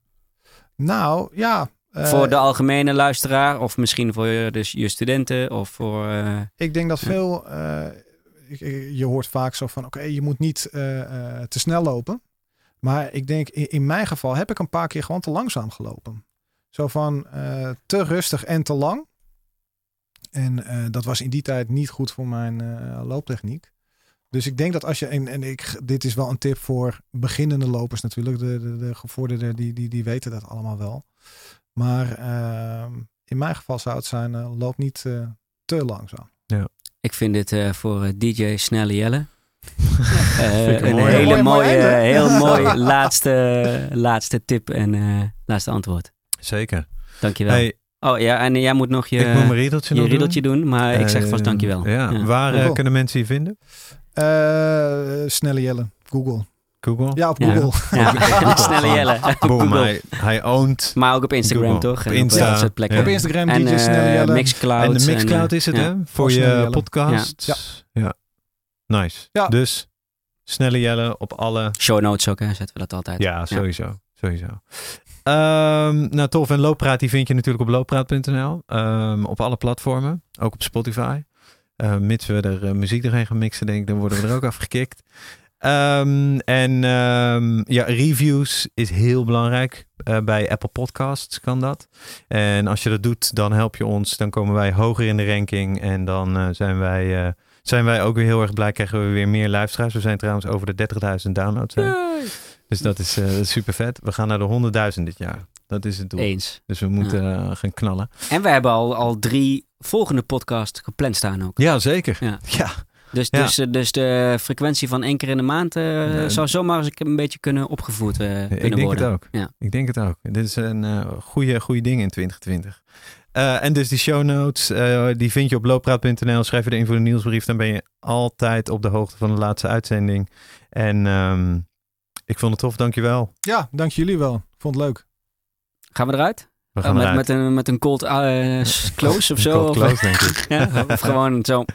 [SPEAKER 3] Nou, ja. eh,
[SPEAKER 1] voor de algemene luisteraar of misschien voor je, dus je studenten of voor... eh,
[SPEAKER 3] Ik denk dat
[SPEAKER 1] Ja.
[SPEAKER 3] veel. eh, ik, ik- je hoort vaak zo van: oké, je moet niet eh, eh, te snel lopen. Maar ik denk, in, in mijn geval heb ik een paar keer gewoon te langzaam gelopen. Zo van eh, te rustig en te lang. En eh, dat was in die tijd niet goed voor mijn eh, looptechniek. Dus ik denk dat als je, en, en ik, dit is wel een tip voor beginnende lopers natuurlijk, de, de, de gevorderden, die, die, die weten dat allemaal wel. Maar ehm, in mijn geval zou het zijn, eh, loop niet eh, te langzaam.
[SPEAKER 1] Ik vind dit eh, voor eh, DJ Snelle Jelle. Eh,
[SPEAKER 2] Vind ik
[SPEAKER 1] een
[SPEAKER 2] mooi.
[SPEAKER 1] hele
[SPEAKER 3] Mooi, mooi
[SPEAKER 1] mooie,
[SPEAKER 3] einde.
[SPEAKER 1] heel mooi laatste, laatste tip en eh, laatste antwoord.
[SPEAKER 2] Zeker.
[SPEAKER 1] Dankjewel.
[SPEAKER 2] Hey,
[SPEAKER 1] Oh ja, en jij moet nog je,
[SPEAKER 2] ik moet mijn riedeltje
[SPEAKER 1] je
[SPEAKER 2] nog
[SPEAKER 1] riedeltje
[SPEAKER 2] doen.
[SPEAKER 1] doen, maar ik zeg
[SPEAKER 2] Eh,
[SPEAKER 1] vast dankjewel.
[SPEAKER 2] Ja. Waar eh,
[SPEAKER 3] Cool.
[SPEAKER 2] kunnen mensen je vinden?
[SPEAKER 3] Eh, snelle Jelle. Google.
[SPEAKER 2] Google?
[SPEAKER 3] Ja, op
[SPEAKER 1] Ja.
[SPEAKER 3] Google.
[SPEAKER 1] Ja,
[SPEAKER 2] Google.
[SPEAKER 1] Snelle Jelle.
[SPEAKER 2] Boom,
[SPEAKER 1] Google.
[SPEAKER 2] hij, hij owned.
[SPEAKER 1] Maar ook op Instagram
[SPEAKER 2] Google.
[SPEAKER 1] toch?
[SPEAKER 2] Op
[SPEAKER 1] En
[SPEAKER 2] Insta.
[SPEAKER 1] dat soort plekken.
[SPEAKER 2] Ja.
[SPEAKER 3] Op Instagram,
[SPEAKER 1] En
[SPEAKER 3] DJ
[SPEAKER 1] eh,
[SPEAKER 3] Snelle Jelle.
[SPEAKER 1] Mixcloud.
[SPEAKER 2] en de Mixcloud
[SPEAKER 1] en, eh,
[SPEAKER 2] is het,
[SPEAKER 1] ja.
[SPEAKER 2] hè? Voor
[SPEAKER 3] Snelle
[SPEAKER 2] je
[SPEAKER 3] Jelle.
[SPEAKER 2] podcast.
[SPEAKER 3] Ja.
[SPEAKER 2] Ja. Nice.
[SPEAKER 3] Ja.
[SPEAKER 2] Dus, snelle Jelle op alle...
[SPEAKER 1] Show notes ook, hè? Zetten we dat altijd.
[SPEAKER 2] Ja, sowieso. Sowieso. Ehm, nou, tof. En Looppraat, die vind je natuurlijk op looppraat.nl. Ehm, op alle platformen. Ook op Spotify. Eh, mits we er eh, muziek doorheen gaan mixen, denk ik, dan worden we er ook afgekikt. Ehm, en ehm, ja, reviews is heel belangrijk. Eh, bij Apple Podcasts kan dat. En als je dat doet, dan help je ons. Dan komen wij hoger in de ranking. En dan eh, zijn, wij, eh, zijn wij ook weer heel erg blij. Krijgen we weer meer luisteraars. We zijn trouwens over de 30.000 downloads. heen. Dus dat is super vet. We gaan naar de 100.000 dit jaar. Dat is het doel.
[SPEAKER 1] Eens.
[SPEAKER 2] Dus we moeten eh, gaan knallen.
[SPEAKER 1] En we hebben al, al drie volgende podcasts gepland staan ook.
[SPEAKER 2] Ja, zeker.
[SPEAKER 1] Ja.
[SPEAKER 2] ja.
[SPEAKER 1] Dus,
[SPEAKER 2] Ja.
[SPEAKER 1] dus, dus de frequentie van één keer in de maand eh,
[SPEAKER 2] Nee.
[SPEAKER 1] zou zomaar eens een beetje kunnen opgevoerd eh, kunnen
[SPEAKER 2] Ik denk
[SPEAKER 1] worden.
[SPEAKER 2] het ook.
[SPEAKER 1] Ja.
[SPEAKER 2] Ik denk het ook. Dit is een eh, goede, goede ding in 2020. Eh, en dus die show notes, eh, die vind je op looppraat.nl. Schrijf je erin voor de nieuwsbrief. Dan ben je altijd op de hoogte van de laatste uitzending. En ehm, ik vond het tof. Dankjewel.
[SPEAKER 3] Ja, dank jullie wel. Vond het leuk.
[SPEAKER 1] Gaan we eruit?
[SPEAKER 2] We gaan
[SPEAKER 1] Eh, met,
[SPEAKER 2] eruit.
[SPEAKER 1] met, een, met een cold eh, s- close of
[SPEAKER 2] Een
[SPEAKER 1] zo?
[SPEAKER 2] cold
[SPEAKER 1] Of,
[SPEAKER 2] close, denk ik.
[SPEAKER 1] ja, of gewoon zo.